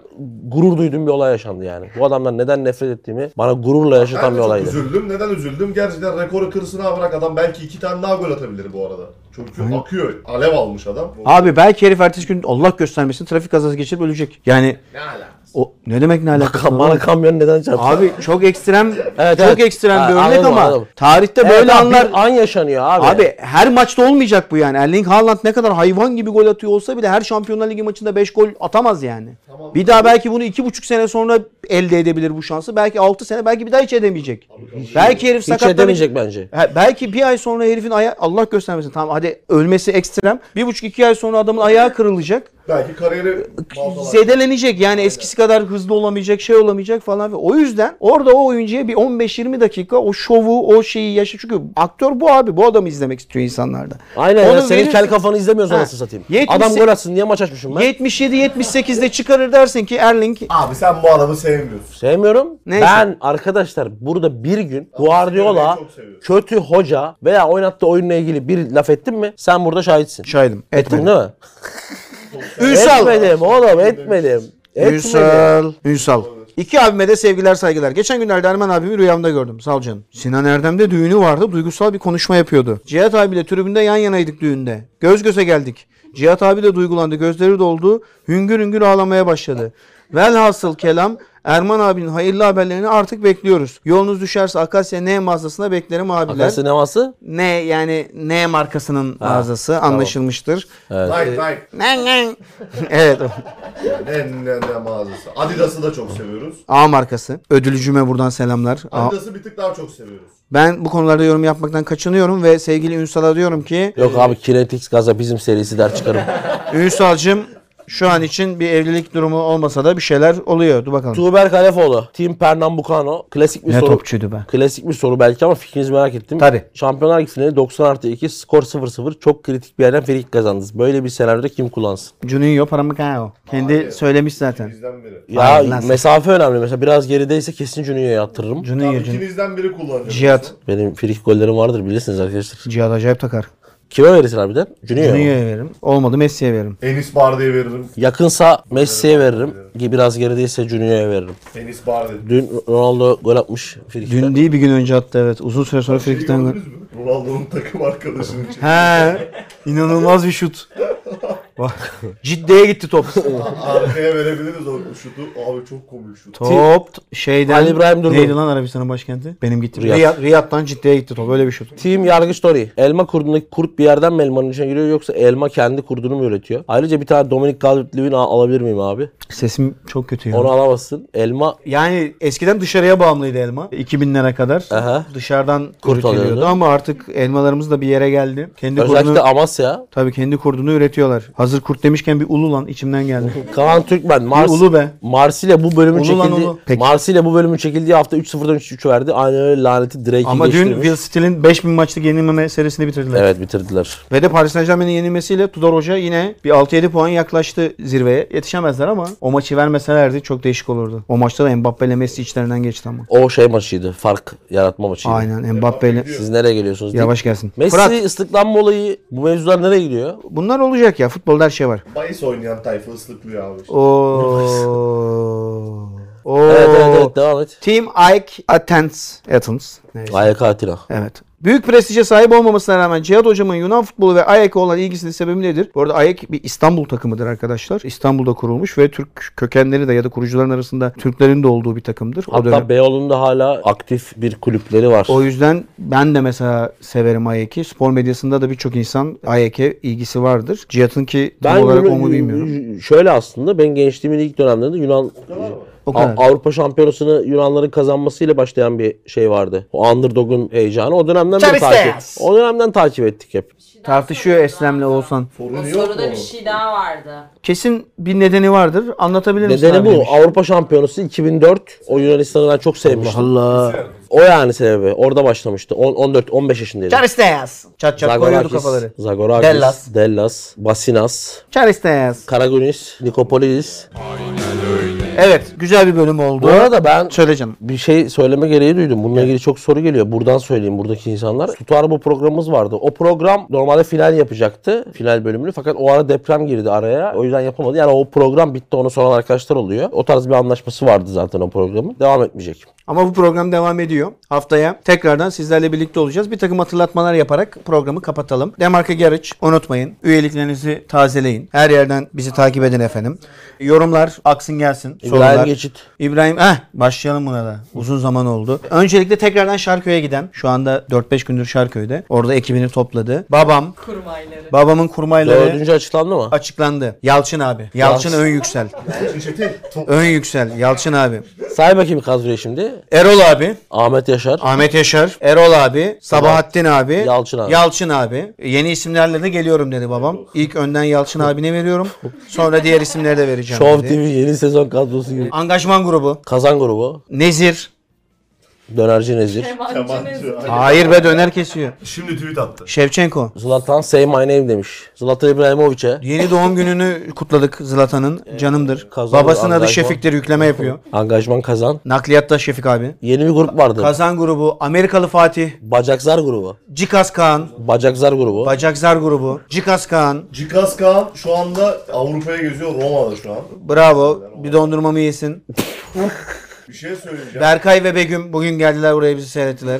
[SPEAKER 2] gurur duyduğum bir olay yaşandı yani. Bu adamdan neden nefret ettiğimi bana gururla yaşatan
[SPEAKER 4] ben de
[SPEAKER 2] bir
[SPEAKER 4] çok
[SPEAKER 2] olaydı.
[SPEAKER 4] üzüldüm. Neden üzüldüm? Gerçekten rekoru kırsın ha bırak adam belki iki tane daha gol atabilir bu arada. Çünkü akıyor. Alev almış adam.
[SPEAKER 3] Abi belki herif ertesi gün Allah göstermesin trafik kazası geçirip ölecek. Yani
[SPEAKER 4] Ne alakası?
[SPEAKER 3] o ne demek ne alakası var?
[SPEAKER 2] Bana kamyon neden çarptı?
[SPEAKER 3] Abi çok ekstrem
[SPEAKER 2] Evet,
[SPEAKER 3] çok
[SPEAKER 2] evet.
[SPEAKER 3] ekstrem bir
[SPEAKER 2] Ha,
[SPEAKER 3] örnek
[SPEAKER 2] anladım,
[SPEAKER 3] ama
[SPEAKER 2] anladım.
[SPEAKER 3] tarihte
[SPEAKER 2] Evet
[SPEAKER 3] böyle
[SPEAKER 2] abi,
[SPEAKER 3] anlar
[SPEAKER 2] bir an yaşanıyor abi.
[SPEAKER 3] Abi her maçta olmayacak bu yani. Erling Haaland ne kadar hayvan gibi gol atıyor olsa bile her Şampiyonlar Ligi maçında 5 gol atamaz yani.
[SPEAKER 4] Tamam.
[SPEAKER 3] Bir daha belki bunu 2,5 sene sonra elde edebilir bu şansı. Belki 6 sene belki bir daha hiç edemeyecek. belki herif
[SPEAKER 2] hiç
[SPEAKER 3] sakatlanacak.
[SPEAKER 2] edemeyecek bence.
[SPEAKER 3] Ha, belki bir ay sonra herifin ayağı Allah göstermesin tamam hadi ölmesi ekstrem. Bir buçuk iki ay sonra adamın ayağı kırılacak.
[SPEAKER 4] Belki kariyeri... mahvolar.
[SPEAKER 3] Zedelenecek yani eskisi kadar hızlı olamayacak şey olamayacak falan. ve O yüzden orada o oyuncuya bir 15-20 dakika o şovu o şeyi yaşa. Çünkü aktör bu abi bu adamı izlemek istiyor insanlarda.
[SPEAKER 2] Aynen
[SPEAKER 3] Onu
[SPEAKER 2] ya senin
[SPEAKER 3] verirsin-
[SPEAKER 2] kel kafanı izlemiyoruz
[SPEAKER 3] Ha.
[SPEAKER 2] anasını satayım.
[SPEAKER 3] 78
[SPEAKER 2] Adam gol atsın niye maç açmışım ben?
[SPEAKER 3] 77-78'de çıkarır dersin ki Erling
[SPEAKER 4] Abi sen bu adamı sevmiyorsun.
[SPEAKER 2] Sevmiyorum.
[SPEAKER 3] Neyse.
[SPEAKER 2] Ben arkadaşlar burada bir gün
[SPEAKER 4] seni
[SPEAKER 2] Guardiola
[SPEAKER 4] çok seviyorum.
[SPEAKER 2] kötü hoca veya oynattığı oyunla ilgili bir laf ettin mi? Sen burada şahitsin.
[SPEAKER 3] şahidim.
[SPEAKER 2] Ettim değil mi?
[SPEAKER 3] Ünsal.
[SPEAKER 2] Etmedim oğlum etmedim. Etmedim.
[SPEAKER 3] Ünsal. Ünsal. İki abime de sevgiler saygılar. Geçen günlerde Ermen abimi rüyamda gördüm. Sağ ol canım. Sinan Erdem'de düğünü vardı. Duygusal bir konuşma yapıyordu. Cihat abiyle tribünde yan yanaydık düğünde. Göz göze geldik. Cihat abi de duygulandı. Gözleri doldu. Hüngür hüngür ağlamaya başladı. Velhasıl kelam Erman abinin hayırlı haberlerini artık bekliyoruz. Yolunuz düşerse Akasya N mağazasında beklerim abiler.
[SPEAKER 2] Akasya sineması
[SPEAKER 3] Ne yani ne markasının mağazası anlaşılmıştır.
[SPEAKER 4] Nike Nike.
[SPEAKER 3] evet. o.
[SPEAKER 4] Ne ne ne mağazası. Adidas'ı da çok seviyoruz.
[SPEAKER 3] A markası. Ödülücüme buradan selamlar. A-
[SPEAKER 4] Adidas'ı bir tık daha çok seviyoruz.
[SPEAKER 3] Ben bu konularda yorum yapmaktan kaçınıyorum ve sevgili Ünsal'a diyorum ki
[SPEAKER 2] Yok abi Kinetics Gaza bizim serisi der çıkarım.
[SPEAKER 3] Ünsal'cığım şu an için bir evlilik durumu olmasa da bir şeyler oluyor. Dur bakalım.
[SPEAKER 2] Tuğber Kalefoğlu, Team Pernambucano. Klasik bir
[SPEAKER 3] Ne
[SPEAKER 2] soru.
[SPEAKER 3] topçuydu be.
[SPEAKER 2] Klasik bir soru belki ama fikrinizi merak ettim.
[SPEAKER 3] Tabii.
[SPEAKER 2] Şampiyonlar Ligi finali 90 artı 2 skor 0-0 çok kritik bir yerden frikik kazandınız. Böyle bir senaryoda kim kullansın?
[SPEAKER 3] Juninho Paramacao. Kendi
[SPEAKER 4] Hayır.
[SPEAKER 3] söylemiş zaten.
[SPEAKER 4] İkinizden biri.
[SPEAKER 2] Ya
[SPEAKER 3] Aynen lan sen.
[SPEAKER 2] mesafe önemli. Mesela biraz gerideyse kesin Juninho'ya attırırım.
[SPEAKER 3] Juninho.
[SPEAKER 4] Tamam,
[SPEAKER 3] Juninho.
[SPEAKER 4] ikinizden biri kullanacak.
[SPEAKER 3] Cihat.
[SPEAKER 2] Benim frikik gollerim vardır bilirsiniz arkadaşlar.
[SPEAKER 3] Cihat acayip takar.
[SPEAKER 2] Kime verirsin harbiden? Juninho'ya mı?
[SPEAKER 3] Juninho'ya veririm. Olmadı Messi'ye veririm.
[SPEAKER 4] Enis Barde'ye veririm.
[SPEAKER 2] Yakınsa Messi'ye veririm. Ki Biraz gerideyse Juninho'ya veririm.
[SPEAKER 4] Enis Barde.
[SPEAKER 2] Dün Ronaldo gol atmış frikikten.
[SPEAKER 3] Dün değil bir gün önce attı evet. Uzun süre sonra
[SPEAKER 4] Şeyi
[SPEAKER 3] frikikten gol.
[SPEAKER 4] gördünüz mü? Ronaldo'nun takım arkadaşının için.
[SPEAKER 3] He. İnanılmaz bir şut. Bak. Ciddiye gitti top.
[SPEAKER 4] Arkaya verebiliriz o şutu. Abi çok komik şut.
[SPEAKER 3] Top şeyden.
[SPEAKER 2] Ali İbrahim Durgun.
[SPEAKER 3] Neydi lan Arabistan'ın başkenti? Benim gitti.
[SPEAKER 2] Riyad.
[SPEAKER 3] Riyad. Riyad'dan Cidde'ye gitti top. Öyle bir şut.
[SPEAKER 2] Team yargıç Tori. Elma kurdundaki kurt bir yerden mi elmanın içine giriyor yoksa elma kendi kurdunu mu üretiyor? Ayrıca bir tane Dominic Calvert-Lewin al- alabilir miyim abi?
[SPEAKER 3] Sesim çok kötü ya.
[SPEAKER 2] Onu alamazsın. Elma
[SPEAKER 3] Yani eskiden dışarıya bağımlıydı elma. 2000'lere kadar
[SPEAKER 2] Aha.
[SPEAKER 3] dışarıdan
[SPEAKER 2] Kurt
[SPEAKER 3] üretiliyordu
[SPEAKER 2] alıyordu.
[SPEAKER 3] ama artık elmalarımız da bir yere geldi. Kendi
[SPEAKER 2] özellikle
[SPEAKER 3] kurdunu
[SPEAKER 2] Amasya.
[SPEAKER 3] tabii kendi kurdunu üretiyorlar. Hazır kurt demişken bir ulu lan içimden geldi.
[SPEAKER 2] Kaan Türkmen Mars,
[SPEAKER 3] Bir ulu be.
[SPEAKER 2] Marsilya bu bölümün
[SPEAKER 3] Ulu lan ulu.
[SPEAKER 2] çekildiği
[SPEAKER 3] Peki.
[SPEAKER 2] Marsilya bu bölümün çekildiği hafta 3-0'dan 3-3 verdi. Aynen öyle laneti Drake'i
[SPEAKER 3] ama dün
[SPEAKER 2] geçtirmiş.
[SPEAKER 3] Will Steel'in 5000 maçlık yenilmeme serisini bitirdiler.
[SPEAKER 2] Evet bitirdiler.
[SPEAKER 3] Ve de Paris Saint Germain'in yenilmesiyle Tudor Hoca yine bir 6-7 puan yaklaştı zirveye. Yetişemezler ama o maçı vermeselerdi çok değişik olurdu. O maçta da Mbappe ile Messi içlerinden geçti ama.
[SPEAKER 2] O şey maçıydı. Fark yaratma maçıydı.
[SPEAKER 3] Aynen Mbappe ile
[SPEAKER 2] Siz nereye geliyorsunuz? deyip-
[SPEAKER 3] yavaş gelsin.
[SPEAKER 2] Messi
[SPEAKER 3] Fırat
[SPEAKER 2] ıslıklanma olayı bu mevzular nereye gidiyor?
[SPEAKER 3] bunlar olacak ya futbolda her şey var.
[SPEAKER 4] Bayis oynayan tayfa ıslıklıyor abi. işte.
[SPEAKER 3] Oo. Oo.
[SPEAKER 2] Evet evet evet devam et.
[SPEAKER 3] Team Ike Athens. Athens. Neyse.
[SPEAKER 2] AYK Atina.
[SPEAKER 3] Evet. Büyük prestije sahip olmamasına rağmen Cihat Hocam'ın Yunan futbolu ve AEK'e olan ilgisinin sebebi nedir? Bu arada AEK bir İstanbul takımıdır arkadaşlar. İstanbul'da kurulmuş ve Türk kökenleri de ya da kurucuların arasında Türklerin de olduğu bir takımdır. O dönem.
[SPEAKER 2] Hatta Beyoğlu'nda hala aktif bir kulüpleri var.
[SPEAKER 3] O yüzden ben de mesela severim AYK'i. Spor medyasında da birçok insan AYK'e ilgisi vardır. Cihat'ın ki tam olarak
[SPEAKER 2] bunu-
[SPEAKER 3] o mu bilmiyorum.
[SPEAKER 2] Şöyle aslında ben gençliğimin ilk dönemlerinde Yunan
[SPEAKER 3] O
[SPEAKER 2] A-
[SPEAKER 3] kadar.
[SPEAKER 2] Avrupa Şampiyonası'nı Yunanların kazanmasıyla başlayan bir şey vardı. O underdog'un heyecanı o dönemden beri
[SPEAKER 3] Chavistas.
[SPEAKER 2] takip. O dönemden takip ettik hep.
[SPEAKER 3] Tartışıyor Eslem'le Oğuzhan.
[SPEAKER 5] O
[SPEAKER 4] Sorun yok
[SPEAKER 5] soruda
[SPEAKER 4] mu?
[SPEAKER 5] bir şey daha vardı.
[SPEAKER 3] Kesin bir nedeni vardır. Anlatabilir misin?
[SPEAKER 2] Nedeni
[SPEAKER 3] abi
[SPEAKER 2] bu.
[SPEAKER 3] demiş.
[SPEAKER 2] Avrupa Şampiyonası 2004. O Yunanistan'ı ben çok sevmiştim.
[SPEAKER 3] Allah.
[SPEAKER 2] O yani sebebi. Orada başlamıştı. 14-15 yaşındaydım.
[SPEAKER 3] Charisteas. Çat çat koyuyordu kafaları.
[SPEAKER 2] Zagorakis,
[SPEAKER 3] Dellas.
[SPEAKER 2] Dellas. Basinas,
[SPEAKER 3] Charisteas.
[SPEAKER 2] Karagunis, Nikopolidis.
[SPEAKER 3] Evet güzel bir bölüm oldu.
[SPEAKER 2] Bu arada ben
[SPEAKER 3] Söyle canım.
[SPEAKER 2] bir şey söyleme gereği duydum. Bununla ilgili çok soru geliyor. Buradan söyleyeyim buradaki insanlar. Tutar bu programımız vardı. O program normalde final yapacaktı. Final bölümünü. Fakat o ara deprem girdi araya. O yüzden yapamadı. Yani o program bitti. Onu soran arkadaşlar oluyor. O tarz bir anlaşması vardı zaten o programın. Devam etmeyecek.
[SPEAKER 3] Ama bu program devam ediyor. Haftaya tekrardan sizlerle birlikte olacağız. Bir takım hatırlatmalar yaparak programı kapatalım. Demarka Garage unutmayın. Üyeliklerinizi tazeleyin. Her yerden bizi takip edin efendim. Yorumlar aksın gelsin.
[SPEAKER 2] İbrahim
[SPEAKER 3] Sorular.
[SPEAKER 2] Geçit.
[SPEAKER 3] İbrahim, heh, başlayalım buna da. Uzun zaman oldu. Öncelikle tekrardan Şarköy'e giden. Şu anda 4-5 gündür Şarköy'de. Orada ekibini topladı. Babam,
[SPEAKER 5] Kurmayları.
[SPEAKER 3] babamın kurmayları
[SPEAKER 2] Dördüncü açıklandı mı?
[SPEAKER 3] açıklandı. Yalçın abi. Yalçın
[SPEAKER 2] Yalçın.
[SPEAKER 3] ön yüksel. ön yüksel. Yalçın abi.
[SPEAKER 2] Say bakayım kadroyu şimdi.
[SPEAKER 3] Erol abi.
[SPEAKER 2] Ahmet Yaşar.
[SPEAKER 3] Ahmet Yaşar, Erol abi, Sabahattin abi,
[SPEAKER 2] Yalçın abi.
[SPEAKER 3] Yalçın abi. Yeni isimlerle de geliyorum dedi babam. İlk önden Yalçın abine veriyorum. Sonra diğer isimleri de vereceğim
[SPEAKER 2] Show TV
[SPEAKER 3] dedi.
[SPEAKER 2] yeni sezon kadrosu gibi.
[SPEAKER 3] Angajman grubu.
[SPEAKER 2] Kazan grubu.
[SPEAKER 3] Nezir.
[SPEAKER 2] Dönerci Nezir.
[SPEAKER 5] Yabancı.
[SPEAKER 4] Yabancı.
[SPEAKER 3] Hayır be döner kesiyor.
[SPEAKER 4] Şimdi tweet attı.
[SPEAKER 3] Şevçenko.
[SPEAKER 2] Zlatan say my name demiş. Zlatan İbrahimovic'e.
[SPEAKER 3] Yeni doğum gününü kutladık Zlatan'ın. Canımdır.
[SPEAKER 2] kazandı
[SPEAKER 3] Babasının adı
[SPEAKER 2] Ee, Angajman.
[SPEAKER 3] Şefik'tir. Yükleme yapıyor.
[SPEAKER 2] Angajman kazan.
[SPEAKER 3] Nakliyatta Şefik abi.
[SPEAKER 2] Yeni bir grup vardı.
[SPEAKER 3] Kazan grubu, Amerikalı Fatih,
[SPEAKER 2] Bacakzar grubu.
[SPEAKER 3] Cikas Kaan,
[SPEAKER 2] Bacakzar grubu.
[SPEAKER 3] Bacakzar grubu, Cikas Kaan.
[SPEAKER 4] Cikas Kaan şu anda Avrupa'ya geziyor Roma'da şu an.
[SPEAKER 3] Bravo. Bir dondurmamı yesin.
[SPEAKER 4] Bir şey söyleyeceğim.
[SPEAKER 3] Berkay ve Begüm bugün geldiler buraya bizi seyrettiler.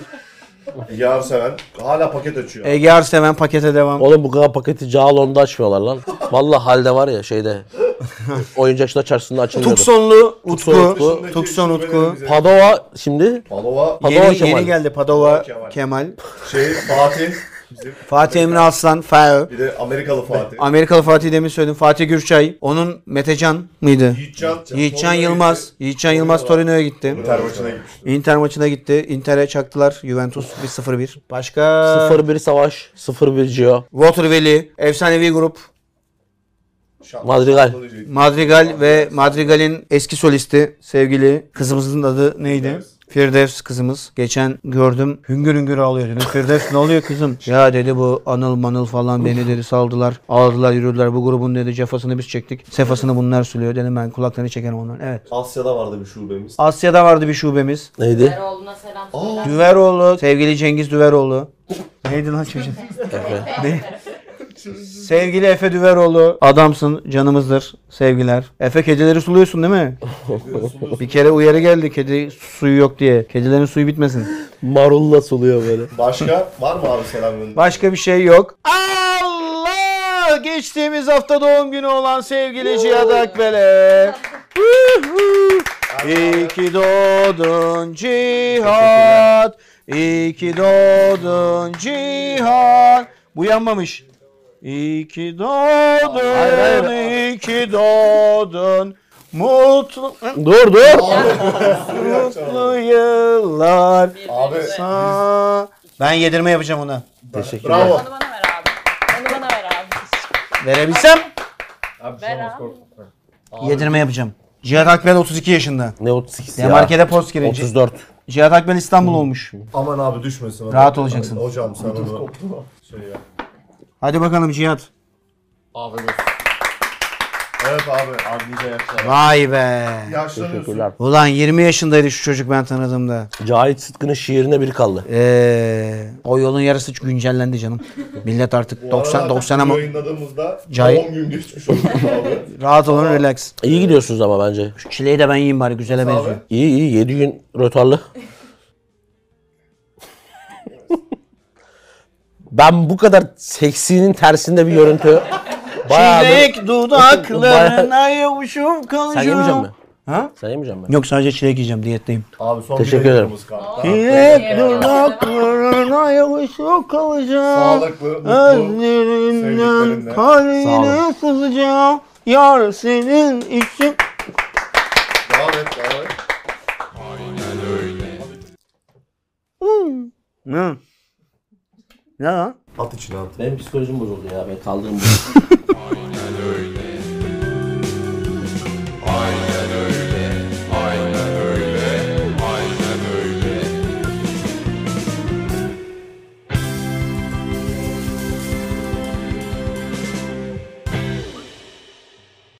[SPEAKER 4] Ege Arseven hala paket açıyor.
[SPEAKER 3] Ege Arseven pakete devam.
[SPEAKER 2] Oğlum bu kadar paketi Cağaloğlu'nda açmıyorlar lan. Vallahi halde var ya şeyde. Oyuncakçılar çarşısında açılıyordu.
[SPEAKER 3] Tuksonlu Utku.
[SPEAKER 2] Utku.
[SPEAKER 3] Tukson Utku.
[SPEAKER 2] Padova şimdi
[SPEAKER 4] Padova
[SPEAKER 2] Padova
[SPEAKER 3] Yeni,
[SPEAKER 2] Kemal.
[SPEAKER 3] yeni geldi Padova
[SPEAKER 4] Kemal.
[SPEAKER 3] Kemal.
[SPEAKER 4] şey Fatih bizim
[SPEAKER 3] Fatih Emre Aslan. Fao.
[SPEAKER 4] bir de Amerikalı Fatih.
[SPEAKER 3] Amerikalı Fatih demin söyledim. Fatih Gürçay. Onun Metecan mıydı?
[SPEAKER 4] Yiğitcan,
[SPEAKER 3] Yiğitcan Yılmaz. Yiğitcan Yılmaz Torino'ya gitti.
[SPEAKER 4] Inter maçına gitmişti.
[SPEAKER 3] Inter maçına gitti. Inter'e çaktılar. Juventus 1-0-1. Başka?
[SPEAKER 2] 0-1 Savaş, 0-1 Gio,
[SPEAKER 3] Water Valley. Efsanevi grup.
[SPEAKER 4] Şans-
[SPEAKER 2] Madrigal.
[SPEAKER 3] Madrigal ve Madrigal'in eski solisti sevgili kızımızın adı neydi? Firdevs kızımız. Geçen gördüm hüngür hüngür ağlıyor dedim. Firdevs ne oluyor kızım? Ya dedi bu anıl manıl falan beni dedi saldılar. Ağladılar yürüdüler bu grubun dedi cefasını biz çektik. Sefasını bunlar sürüyor dedim ben kulaklarını çekerim onların. Evet.
[SPEAKER 4] Asya'da vardı bir şubemiz.
[SPEAKER 3] Asya'da vardı bir şubemiz.
[SPEAKER 2] Neydi?
[SPEAKER 5] Eroğlu'na selam söyle.
[SPEAKER 3] Düveroğlu. Sevgili Cengiz Düveroğlu. Neydi lan çocuğun? Ne? Sevgili Efe Düveroğlu. Adamsın, canımızdır. Sevgiler. Efe kedileri suluyorsun değil mi? Bir kere uyarı geldi kedi suyu yok diye. Kedilerin suyu bitmesin.
[SPEAKER 2] Marulla suluyor böyle.
[SPEAKER 4] Başka var mı abi selam gönder?
[SPEAKER 3] Başka bir şey yok. Allah! Geçtiğimiz hafta doğum günü olan sevgili Cihat Akbel'e. İyi ki doğdun Cihat. İyi ki doğdun Cihat. Bu yanmamış. İyi ki doğdun, iyi ki doğdun. Mutlu,
[SPEAKER 2] dur dur.
[SPEAKER 3] mutlu yıllar.
[SPEAKER 4] Abi
[SPEAKER 3] sana. Ben yedirme yapacağım ona.
[SPEAKER 2] Teşekkürler.
[SPEAKER 4] bravo.
[SPEAKER 5] Onu bana ver abi. Onu bana ver abi.
[SPEAKER 3] Verebilsem
[SPEAKER 5] Ver abi.
[SPEAKER 3] yedirme yapacağım. Cihat Akbel 32 yaşında.
[SPEAKER 2] Ne 32 ya?
[SPEAKER 3] Demarkede post girince.
[SPEAKER 2] 34.
[SPEAKER 3] Cihat Akbel İstanbul olmuş.
[SPEAKER 4] Aman abi düşmesin.
[SPEAKER 3] Rahat olacaksın.
[SPEAKER 4] Hocam sen onu şey yap.
[SPEAKER 3] Hadi bakalım Cihat.
[SPEAKER 4] Evet abi abi nice yaşlar.
[SPEAKER 3] Vay be.
[SPEAKER 4] Yaşlanıyorsun.
[SPEAKER 2] Teşekkürler.
[SPEAKER 3] Ulan 20 yaşındaydı şu çocuk ben tanıdığımda.
[SPEAKER 2] Cahit Sıtkı'nın şiirine bir kaldı.
[SPEAKER 3] Ee, o yolun yarısı güncellendi canım. Millet artık 90
[SPEAKER 4] Arada
[SPEAKER 3] 90
[SPEAKER 4] biz
[SPEAKER 3] ama
[SPEAKER 4] Yayınladığımızda
[SPEAKER 3] Cahit-
[SPEAKER 4] 10 gün geçmiş oldu abi.
[SPEAKER 3] rahat olun relax.
[SPEAKER 2] İyi gidiyorsunuz ama bence.
[SPEAKER 3] Şu çileği de ben yiyeyim bari güzele benziyor.
[SPEAKER 2] İyi iyi 7 gün rötarlı. Ben bu kadar seksinin tersinde bir görüntü. Bayağı da-
[SPEAKER 3] Çilek dudaklarına
[SPEAKER 2] Bayağı-
[SPEAKER 3] yavuşum
[SPEAKER 2] Sen yemeyecek
[SPEAKER 3] kalıcım.
[SPEAKER 2] misin?
[SPEAKER 3] Ha?
[SPEAKER 2] Sen yemeyecek misin?
[SPEAKER 3] Yok sadece çilek yiyeceğim diyetteyim.
[SPEAKER 4] Abi son
[SPEAKER 2] Teşekkür
[SPEAKER 4] bir
[SPEAKER 2] ederim.
[SPEAKER 4] dakikamız kaldı.
[SPEAKER 3] Çilek dudaklarına yavuşum kalıcım.
[SPEAKER 4] Sağlıklı, mutlu.
[SPEAKER 3] Özlerinden
[SPEAKER 4] sevdiklerinle.
[SPEAKER 2] Sağ
[SPEAKER 3] kalbine sızacağım. Yar senin için.
[SPEAKER 4] Devam et, devam et.
[SPEAKER 3] Ne? Ne lan?
[SPEAKER 4] At içine at.
[SPEAKER 2] Benim psikolojim bozuldu ya. Ben kaldığım